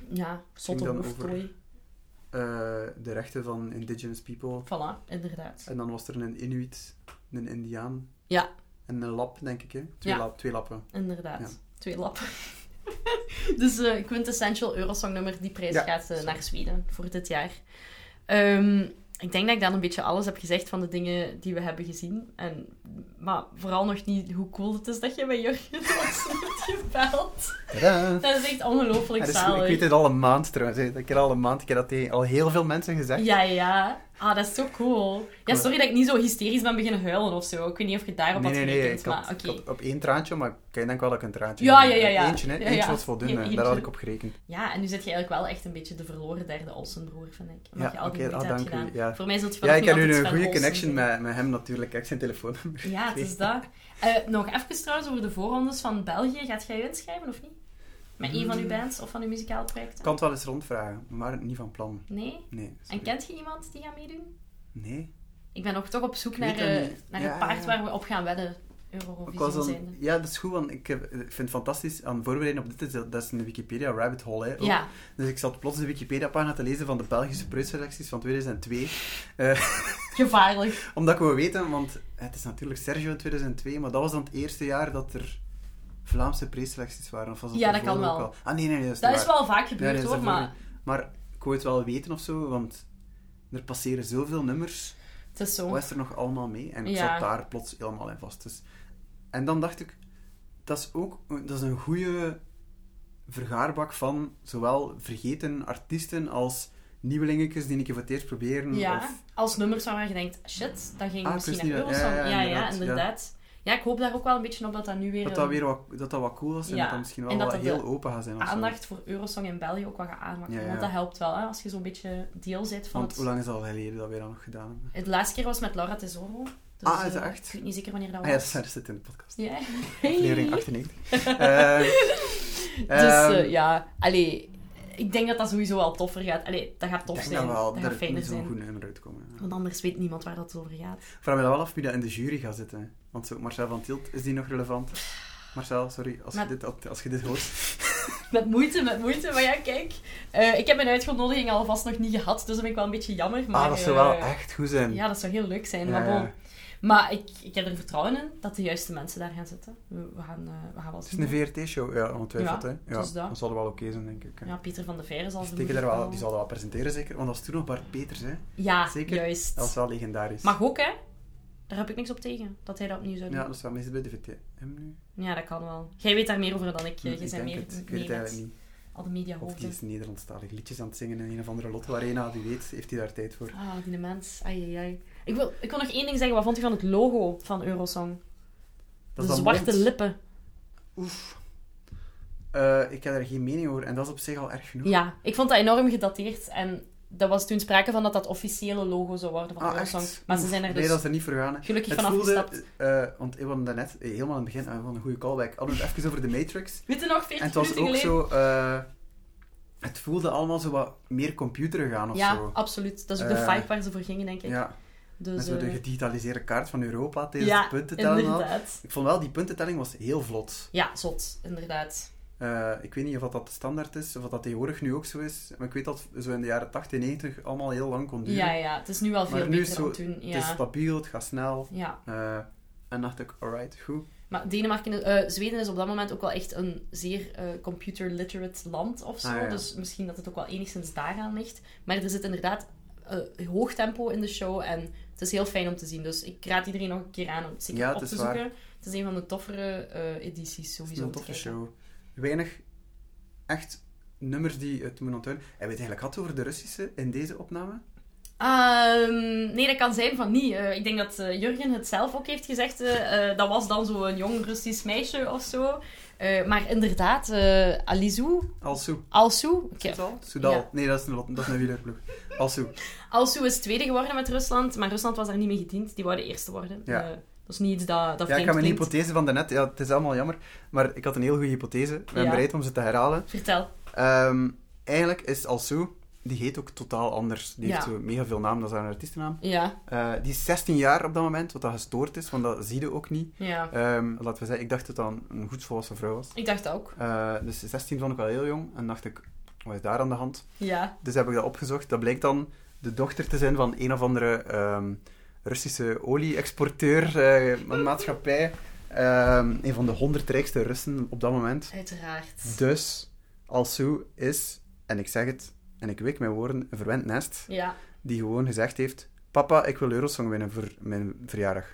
Speaker 2: zotte
Speaker 4: dan
Speaker 2: hoofdtooi.
Speaker 4: eh, de rechten van indigenous people.
Speaker 2: Voilà, inderdaad.
Speaker 4: En dan was er een Inuit, een Indiaan
Speaker 2: Ja,
Speaker 4: en een lap, denk ik. Hè? Twee,
Speaker 2: Ja.
Speaker 4: lap- twee lappen.
Speaker 2: inderdaad.
Speaker 4: Ja.
Speaker 2: Twee lappen. [LAUGHS] dus eh quintessential Eurosong nummer, die prijs
Speaker 4: Ja,
Speaker 2: gaat eh, naar Zweden voor dit jaar. Ehm, ik denk dat ik dan een beetje alles heb gezegd van de dingen die we hebben gezien. En, maar vooral nog niet hoe cool het is dat je bij [LAUGHS] Jurgen was hebt gebeld.
Speaker 4: Tadaa!
Speaker 2: Dat is echt ongelooflijk
Speaker 4: Ja, dat is goed.
Speaker 2: zalig.
Speaker 4: ik weet het al een maand trouwens. hè. Ik heb al een maand, ik heb dat tegen al heel veel mensen gezegd.
Speaker 2: Ja, ja. Ah, dat is zo cool. Ja, sorry dat ik niet zo hysterisch ben beginnen huilen of zo. Ik weet niet of je daarop
Speaker 4: Nee,
Speaker 2: had
Speaker 4: nee,
Speaker 2: gerekend,
Speaker 4: nee. Ik
Speaker 2: maar
Speaker 4: had,
Speaker 2: oké.
Speaker 4: ik had op één traantje, maar ik denk wel dat ik een traantje
Speaker 2: Ja,
Speaker 4: had.
Speaker 2: ja, ja, ja.
Speaker 4: Eentje, hè.
Speaker 2: Ja,
Speaker 4: eentje
Speaker 2: ja.
Speaker 4: was voldoende.
Speaker 2: Eentje.
Speaker 4: Daar had ik op gerekend.
Speaker 2: Ja, en nu zit je eigenlijk wel echt een beetje de verloren derde Olsenbroer, vind ik. Omdat
Speaker 4: Ja,
Speaker 2: je al die
Speaker 4: oké,
Speaker 2: moeite
Speaker 4: ah,
Speaker 2: hebt
Speaker 4: dank u,
Speaker 2: gedaan.
Speaker 4: ja.
Speaker 2: Voor mij zult je
Speaker 4: Ja, ik heb
Speaker 2: nu
Speaker 4: nu een goede connection met, met hem natuurlijk. Ik zijn telefoonnummer.
Speaker 2: Ja, het is dat. Eh, nog even trouwens over de voorrondes van België. Gaat jij je inschrijven of niet? Met een
Speaker 4: Hmm.
Speaker 2: van uw bands of van uw muzikale projecten?
Speaker 4: Ik kan het wel eens rondvragen, maar niet van plan.
Speaker 2: Nee?
Speaker 4: Nee.
Speaker 2: En
Speaker 4: sorry.
Speaker 2: kent je iemand die gaat meedoen?
Speaker 4: Nee.
Speaker 2: Ik ben nog toch op zoek
Speaker 4: weet
Speaker 2: naar,
Speaker 4: dat
Speaker 2: eh,
Speaker 4: niet.
Speaker 2: naar
Speaker 4: Ja,
Speaker 2: het paard
Speaker 4: ja.
Speaker 2: waar we op gaan wedden.
Speaker 4: Ik was
Speaker 2: Eurovisie
Speaker 4: dan,
Speaker 2: zijn.
Speaker 4: ja, dat is goed, want ik, heb- ik vind het fantastisch aan voorbereiden op dit. is Dat dat is een Wikipedia rabbit hole. Hè, ook.
Speaker 2: Ja.
Speaker 4: Dus ik zat plots de Wikipedia-pagina te lezen van de Belgische preusselecties van 2002. Eh,
Speaker 2: Gevaarlijk.
Speaker 4: omdat ik wil weten, want het is natuurlijk Sergio in 2002, maar dat was dan het eerste jaar dat er Vlaamse preusselecties waren. Of was
Speaker 2: Ja, dat
Speaker 4: daarvoor
Speaker 2: kan
Speaker 4: ook
Speaker 2: wel.
Speaker 4: al? Ah, nee, nee, nee. Dat is,
Speaker 2: Dat
Speaker 4: niet
Speaker 2: is
Speaker 4: waar.
Speaker 2: wel vaak
Speaker 4: Nee,
Speaker 2: gebeurd
Speaker 4: nee, dat
Speaker 2: hoor,
Speaker 4: is daarvoor
Speaker 2: maar
Speaker 4: niet. Maar ik wou het wel weten of zo, want er passeren zoveel nummers.
Speaker 2: het is zo.
Speaker 4: Wat is er nog allemaal mee? En ik
Speaker 2: Ja.
Speaker 4: zat daar plots helemaal in vast. Dus... En dan dacht ik, dat is ook dat is een goede vergaarbak van zowel vergeten artiesten als nieuwelingetjes die een keer voor het eerst proberen.
Speaker 2: Ja,
Speaker 4: Of...
Speaker 2: als nummers waar je denkt, shit, dat ging
Speaker 4: Ah, ik
Speaker 2: misschien naar
Speaker 4: wist niet dat- ja,
Speaker 2: Eurosong. Ja, ja,
Speaker 4: ja,
Speaker 2: inderdaad. Ja,
Speaker 4: inderdaad,
Speaker 2: ik hoop daar ook wel een beetje op dat dat nu weer,
Speaker 4: Dat dat
Speaker 2: een
Speaker 4: weer wat, dat dat wat cool is en
Speaker 2: Ja,
Speaker 4: dat dat misschien wel
Speaker 2: en dat
Speaker 4: wat
Speaker 2: dat
Speaker 4: heel
Speaker 2: de
Speaker 4: open gaat zijn. of zo.
Speaker 2: aandacht voor Eurosong in België ook wat gaat aanmaken.
Speaker 4: Ja, ja.
Speaker 2: Want dat helpt wel, hè, als je zo'n beetje deel bent van
Speaker 4: Want hoe
Speaker 2: het...
Speaker 4: lang is het al geleden dat we dat nog gedaan hebben?
Speaker 2: Het laatste keer was met Laura Tesoro. Dus,
Speaker 4: Ah, is dat
Speaker 2: eh,
Speaker 4: echt?
Speaker 2: Ik weet niet zeker wanneer dat
Speaker 4: Ah ja, dat
Speaker 2: was.
Speaker 4: staat- dat zit in de podcast.
Speaker 2: Ja. [LAUGHS]
Speaker 4: Aflevering 98. Eh,
Speaker 2: Dus eh,
Speaker 4: ehm,
Speaker 2: ja, allee, ik denk dat dat sowieso wel toffer gaat. Allee, dat gaat tof
Speaker 4: Ik denk
Speaker 2: zijn.
Speaker 4: dat wel,
Speaker 2: gaat
Speaker 4: er
Speaker 2: fijner
Speaker 4: moet
Speaker 2: zijn.
Speaker 4: zo'n goed nummer uitkomen. ja.
Speaker 2: Want anders weet niemand waar dat over gaat.
Speaker 4: Ik vraag me dan wel af wie dat in de jury gaat zitten. Want zo, Marcel van Tielt, is die nog relevant? Marcel, sorry, als,
Speaker 2: Maar-
Speaker 4: je, dit, als je dit hoort.
Speaker 2: Met moeite, met moeite. Maar ja, kijk. eh, ik heb mijn uitgenodiging alvast nog niet gehad, dus dat vind ik wel een beetje jammer. Maar,
Speaker 4: ah, dat zou wel
Speaker 2: eh,
Speaker 4: echt goed zijn.
Speaker 2: Ja, dat zou heel leuk zijn.
Speaker 4: Ja,
Speaker 2: maar
Speaker 4: ja.
Speaker 2: bon. Maar ik, ik heb er vertrouwen in dat de juiste mensen daar gaan zitten. We, we gaan, eh we gaan wel
Speaker 4: Het
Speaker 2: zien.
Speaker 4: is een VRT-show, ja, ongetwijfeld.
Speaker 2: Ja,
Speaker 4: hè. ja,
Speaker 2: dus dat.
Speaker 4: zal wel oké zijn, denk ik. hè.
Speaker 2: Ja, Pieter van de Veer zal
Speaker 4: Die
Speaker 2: ze
Speaker 4: steken daar wel, die zal dat wel presenteren, zeker. Want dat was toen nog Bart Peters, hè.
Speaker 2: Ja,
Speaker 4: Zeker.
Speaker 2: juist.
Speaker 4: Dat was wel legendarisch.
Speaker 2: Mag ook, hè? Daar heb ik niks op tegen, dat hij dat opnieuw zou doen.
Speaker 4: Ja,
Speaker 2: Ja,
Speaker 4: dat is wel meestal bij de VTM nu.
Speaker 2: dat kan wel. Jij weet daar meer over dan ik.
Speaker 4: ik
Speaker 2: Jij bent
Speaker 4: denk
Speaker 2: meer
Speaker 4: het. Ik weet
Speaker 2: mee
Speaker 4: het
Speaker 2: met
Speaker 4: eigenlijk niet.
Speaker 2: al de
Speaker 4: Of die
Speaker 2: mediahoofden.
Speaker 4: is Nederlandstalig liedjes aan het zingen in een of andere Lotto Arena. Wie weet, heeft hij daar tijd voor.
Speaker 2: Ah, die mens. Ai, ai, ai. Ik wil, ik wil nog één ding zeggen. Wat vond je van het logo van Eurosong?
Speaker 4: Dat
Speaker 2: de
Speaker 4: is dat
Speaker 2: zwarte
Speaker 4: mond.
Speaker 2: lippen.
Speaker 4: Oef. Eh, ik heb daar geen mening over. En dat is op zich al erg genoeg.
Speaker 2: Ja, ik vond dat enorm gedateerd. En er was toen sprake van dat dat officiële logo zou worden van
Speaker 4: Ah,
Speaker 2: Eurosong.
Speaker 4: echt?
Speaker 2: Maar ze
Speaker 4: Oef,
Speaker 2: zijn er dus...
Speaker 4: Nee, dat is er niet voor gegaan. hè.
Speaker 2: Gelukkig
Speaker 4: het
Speaker 2: van
Speaker 4: voelde,
Speaker 2: afgestapt.
Speaker 4: eh, want we hadden daarnet, eh, helemaal aan het begin, eh, we hadden een goede callback, hadden we het even over de Matrix.
Speaker 2: Weet je nog,
Speaker 4: En
Speaker 2: 40
Speaker 4: het was
Speaker 2: minuten
Speaker 4: ook
Speaker 2: geleden?
Speaker 4: zo, eh, het voelde allemaal zo wat meer computer gaan of
Speaker 2: Ja,
Speaker 4: zo.
Speaker 2: absoluut. Dat is ook de
Speaker 4: Eh,
Speaker 2: vibe waar ze voor gingen, denk ik.
Speaker 4: Ja, met
Speaker 2: dus,
Speaker 4: zo de
Speaker 2: eh,
Speaker 4: gedigitaliseerde kaart van Europa tijdens
Speaker 2: ja,
Speaker 4: de puntentelling. al.
Speaker 2: inderdaad.
Speaker 4: Ik vond wel, die puntentelling was heel vlot.
Speaker 2: Ja, zot. Inderdaad.
Speaker 4: Eh, ik weet niet of dat de standaard is, of dat tegenwoordig nu ook zo is. Maar ik weet dat zo in de jaren 80, 90 allemaal heel lang kon duren.
Speaker 2: Ja, ja. Het is nu wel veel
Speaker 4: Maar nu
Speaker 2: beter
Speaker 4: is zo,
Speaker 2: dan toen. Ja.
Speaker 4: het is stabiel, het gaat snel.
Speaker 2: ja.
Speaker 4: Eh, en dacht ik, alright, goed.
Speaker 2: Maar Denemarken, eh, Zweden is op dat moment ook wel echt een zeer eh, computer-literate land of zo.
Speaker 4: Ah, ja.
Speaker 2: Dus misschien dat het ook wel enigszins daaraan ligt. Maar er zit inderdaad eh, hoog tempo in de show en het is heel fijn om te zien. Dus ik raad iedereen nog een keer aan om het zeker
Speaker 4: Ja, het
Speaker 2: op
Speaker 4: is
Speaker 2: te
Speaker 4: waar.
Speaker 2: zoeken. Het is een van de toffere eh, edities
Speaker 4: Het
Speaker 2: sowieso.
Speaker 4: is een
Speaker 2: om te
Speaker 4: toffe
Speaker 2: kijken.
Speaker 4: show. Weinig echt nummers die het moeten onthouden. Hebben we het eigenlijk gehad over de Russische in deze opname?
Speaker 2: Ehm, nee, dat kan zijn van niet. Eh, ik denk dat eh, Jurgen het zelf ook heeft gezegd. eh, eh, dat was dan zo'n jong Russisch meisje of zo. Eh, maar inderdaad, eh Alizou,
Speaker 4: Alsu.
Speaker 2: Alsou. oké.
Speaker 4: Soudal? Soudal.
Speaker 2: Ja.
Speaker 4: Nee, dat is een, lot- dat is een wielerploeg. Alsu.
Speaker 2: Alsu is tweede geworden met Rusland, maar Rusland was daar niet mee gediend. Die wouden eerste worden.
Speaker 4: Ja.
Speaker 2: Eh, dat is niet iets dat, dat
Speaker 4: Ja, ik
Speaker 2: vreemd
Speaker 4: heb mijn
Speaker 2: klinkt.
Speaker 4: hypothese van daarnet. Ja, het is allemaal jammer. Maar ik had een heel goede hypothese. Ik ben
Speaker 2: Ja.
Speaker 4: bereid om ze te herhalen.
Speaker 2: Vertel.
Speaker 4: Ehm, eigenlijk is Alsu, die heet ook totaal anders. Die
Speaker 2: Ja.
Speaker 4: heeft zo mega veel naam, dat is haar artiestennaam.
Speaker 2: Ja,
Speaker 4: Eh, die is 16 jaar op dat moment, wat dat gestoord is, want dat zie je ook niet.
Speaker 2: ja.
Speaker 4: Ehm, laten we zeggen, ik dacht dat dat een- een goed volwassen vrouw was.
Speaker 2: Ik dacht ook.
Speaker 4: Eh, dus 16 vond ik wel heel jong. En dacht ik, wat is daar aan de hand?
Speaker 2: Ja.
Speaker 4: Dus heb ik dat opgezocht. Dat blijkt dan de dochter te zijn van een of andere ehm, Russische olie-exporteur, eh, een maatschappij. Ehm, een van de 100 rijkste Russen op dat moment.
Speaker 2: Uiteraard.
Speaker 4: Dus Alsu is, en ik zeg het, en ik wik mijn woorden, een verwend nest,
Speaker 2: Ja.
Speaker 4: die gewoon gezegd heeft, papa, ik wil Eurosong winnen voor mijn verjaardag.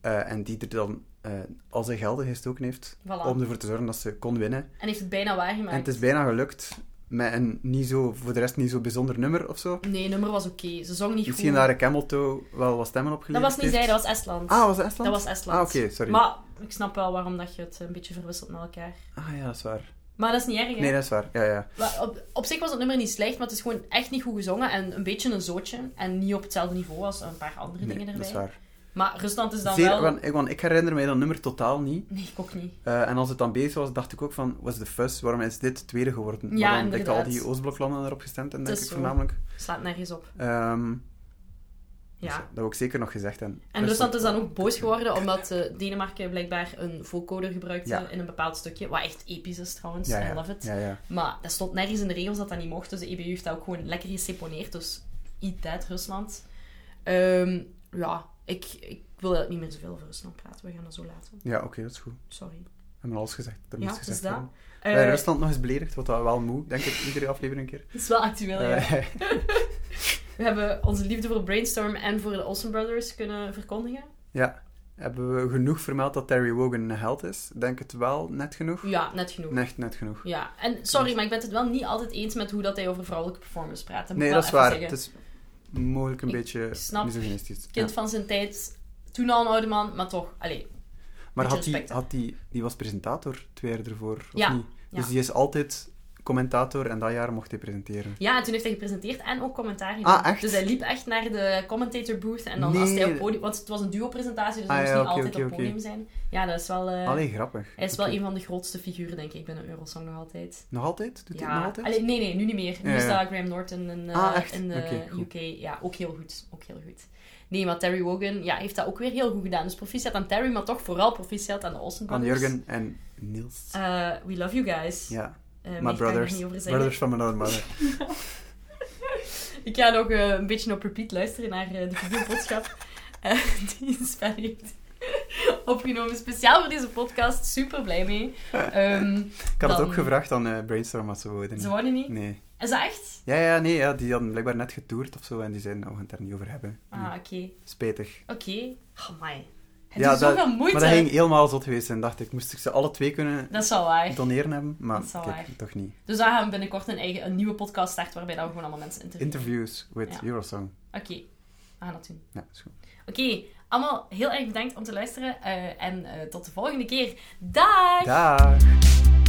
Speaker 4: Eh, en die er dan, eh, als hij geldig is, ook heeft,
Speaker 2: Voilà.
Speaker 4: om ervoor te zorgen dat ze kon winnen.
Speaker 2: En heeft het bijna waargemaakt.
Speaker 4: En het is bijna gelukt met een niet zo, voor de rest niet zo bijzonder nummer of zo.
Speaker 2: Nee, nummer was oké. Ze zong niet
Speaker 4: Misschien
Speaker 2: goed.
Speaker 4: daar een Camel Toe wel wat stemmen
Speaker 2: Dat
Speaker 4: opgeleverd
Speaker 2: was niet
Speaker 4: heeft.
Speaker 2: zij, dat was Estland.
Speaker 4: Ah, was het Estland?
Speaker 2: Dat was Estland.
Speaker 4: Ah, oké, sorry.
Speaker 2: Maar ik snap wel waarom dat je het een beetje verwisselt met elkaar.
Speaker 4: Ah ja, dat is waar.
Speaker 2: Maar dat is niet erg, hè?
Speaker 4: Nee, dat is waar. Ja, ja.
Speaker 2: Maar Op, op zich was het nummer niet slecht, maar het is gewoon echt niet goed gezongen en een beetje een zootje. En niet op hetzelfde niveau als een paar andere
Speaker 4: Nee,
Speaker 2: dingen erbij.
Speaker 4: dat is waar.
Speaker 2: Maar Rusland is dan
Speaker 4: Zeer-
Speaker 2: wel... Mm.
Speaker 4: want, ik- want ik herinner mij dat nummer totaal niet.
Speaker 2: Nee, ik ook niet.
Speaker 4: Eh, en als het dan bezig was, dacht ik ook van, was de fuss? Waarom is dit het tweede geworden?
Speaker 2: Ja,
Speaker 4: maar dan ik al
Speaker 2: inderdaad.
Speaker 4: die Oostbloklanden erop gestemd en denk
Speaker 2: is
Speaker 4: ik
Speaker 2: zo.
Speaker 4: voornamelijk.
Speaker 2: Slaat nergens op.
Speaker 4: Ehm,
Speaker 2: Ja.
Speaker 4: Dat wil ik zeker nog gezegd hebben.
Speaker 2: En Rusland is dan ook boos geworden omdat eh, Denemarken blijkbaar een vocoder gebruikte
Speaker 4: Ja.
Speaker 2: in een bepaald stukje. Wat echt episch is trouwens.
Speaker 4: Ja, ja.
Speaker 2: I love it.
Speaker 4: Ja, ja.
Speaker 2: Maar dat stond nergens in de regels dat dat niet mocht. Dus de EBU heeft dat ook gewoon lekker geseponeerd. Dus eat that, Rusland. Ehm, ja, ik, ik wil eigenlijk niet meer zoveel over Rusland praten. We gaan dat zo laten.
Speaker 4: Ja, oké, dat is goed.
Speaker 2: Sorry.
Speaker 4: We hebben alles gezegd. Er
Speaker 2: Ja,
Speaker 4: moest
Speaker 2: het is
Speaker 4: gezegd
Speaker 2: dat.
Speaker 4: worden.
Speaker 2: Eh,
Speaker 4: Bij Rusland nog eens beledigd, wat dat wel moe, denk ik, iedere aflevering een keer.
Speaker 2: Het is wel actueel, Oh, ja.
Speaker 4: Eh, [LAUGHS]
Speaker 2: We hebben onze liefde voor Brainstorm en voor de Olsen Brothers kunnen verkondigen.
Speaker 4: ja. Hebben we genoeg vermeld dat Terry Wogan een held is? Denk het wel, net genoeg?
Speaker 2: Ja, net genoeg.
Speaker 4: Echt net genoeg.
Speaker 2: Ja, en sorry, maar ik ben het wel niet altijd eens met hoe dat hij over vrouwelijke performers praat. moet
Speaker 4: Nee,
Speaker 2: ik
Speaker 4: dat
Speaker 2: wel
Speaker 4: is
Speaker 2: Ah, even
Speaker 4: waar.
Speaker 2: zeggen.
Speaker 4: Het is mogelijk een
Speaker 2: Ik
Speaker 4: beetje
Speaker 2: snap
Speaker 4: misogynistisch.
Speaker 2: Kind
Speaker 4: Ja.
Speaker 2: van zijn tijd, toen al een oude man, maar toch. Allee,
Speaker 4: Maar had die,
Speaker 2: respect, hè.
Speaker 4: had die, die was presentator twee jaar ervoor, of
Speaker 2: Ja,
Speaker 4: niet? Dus
Speaker 2: ja.
Speaker 4: die is altijd commentator en dat jaar mocht hij presenteren.
Speaker 2: Ja, en toen heeft hij gepresenteerd en ook commentaar gedaan.
Speaker 4: Ah, echt?
Speaker 2: Dus hij liep echt naar de commentator booth en dan
Speaker 4: Nee.
Speaker 2: als hij op podium... Want het was een duo-presentatie, dus hij
Speaker 4: Ah,
Speaker 2: moest
Speaker 4: ja,
Speaker 2: niet
Speaker 4: oké,
Speaker 2: altijd
Speaker 4: oké,
Speaker 2: op
Speaker 4: oké.
Speaker 2: podium zijn. Ja, dat is wel... eh,
Speaker 4: Allee, grappig.
Speaker 2: hij is
Speaker 4: Oké.
Speaker 2: wel een van de grootste figuren, denk ik, binnen Eurosong nog altijd.
Speaker 4: Nog altijd? Doet hij het
Speaker 2: ja.
Speaker 4: nog altijd?
Speaker 2: Allee, nee, nee, nu niet meer. Nu
Speaker 4: Ja,
Speaker 2: is
Speaker 4: ja.
Speaker 2: dat Graham Norton in, eh,
Speaker 4: Ah, echt?
Speaker 2: in de
Speaker 4: Oké, goed.
Speaker 2: UK. Ja, ook heel goed. Ook heel goed. Nee, maar Terry Wogan ja, heeft dat ook weer heel goed gedaan. Dus proficiat aan Terry, maar toch vooral proficiat aan de Olsen
Speaker 4: Aan
Speaker 2: Brothers.
Speaker 4: Jurgen en Niels.
Speaker 2: Eh, we love you guys.
Speaker 4: ja,
Speaker 2: Eh, meer kan
Speaker 4: my
Speaker 2: ik
Speaker 4: brothers.
Speaker 2: er niet over zeggen.
Speaker 4: Brothers van mijn own mother.
Speaker 2: Ik ga nog eh, een beetje op repeat luisteren naar eh, de videoboodschap [LAUGHS] eh, die is heeft [LAUGHS] opgenomen. Speciaal voor deze podcast. Super blij mee.
Speaker 4: [LAUGHS]
Speaker 2: Ehm,
Speaker 4: Ik had het
Speaker 2: Dan-
Speaker 4: ook gevraagd aan eh, Brainstorm wat ze wouden.
Speaker 2: ze worden niet.
Speaker 4: Nee.
Speaker 2: Is dat echt?
Speaker 4: Ja, ja, nee, ja, die hadden blijkbaar net getoerd of zo en die zeiden, nou, we gaan het daar niet over hebben.
Speaker 2: Ah, oké.
Speaker 4: Spijtig.
Speaker 2: Oké. Oh my. Het
Speaker 4: ja,
Speaker 2: is zoveel moeite.
Speaker 4: Maar dat ging helemaal zot geweest en dacht ik, moest ik ze alle twee kunnen
Speaker 2: eh. Dat is wel waar.
Speaker 4: doneren hebben? Maar
Speaker 2: Dat is wel
Speaker 4: kijk,
Speaker 2: waar.
Speaker 4: toch niet.
Speaker 2: Dus daar gaan we binnenkort een, eigen, een nieuwe podcast starten waarbij dat we gewoon allemaal mensen interviewen.
Speaker 4: Interviews with
Speaker 2: Ja.
Speaker 4: Eurosong.
Speaker 2: Oké. We gaan dat doen.
Speaker 4: Ja, is goed.
Speaker 2: Oké. Allemaal heel erg bedankt om te luisteren. eh, en eh, tot de volgende keer. Dag!
Speaker 4: Daag!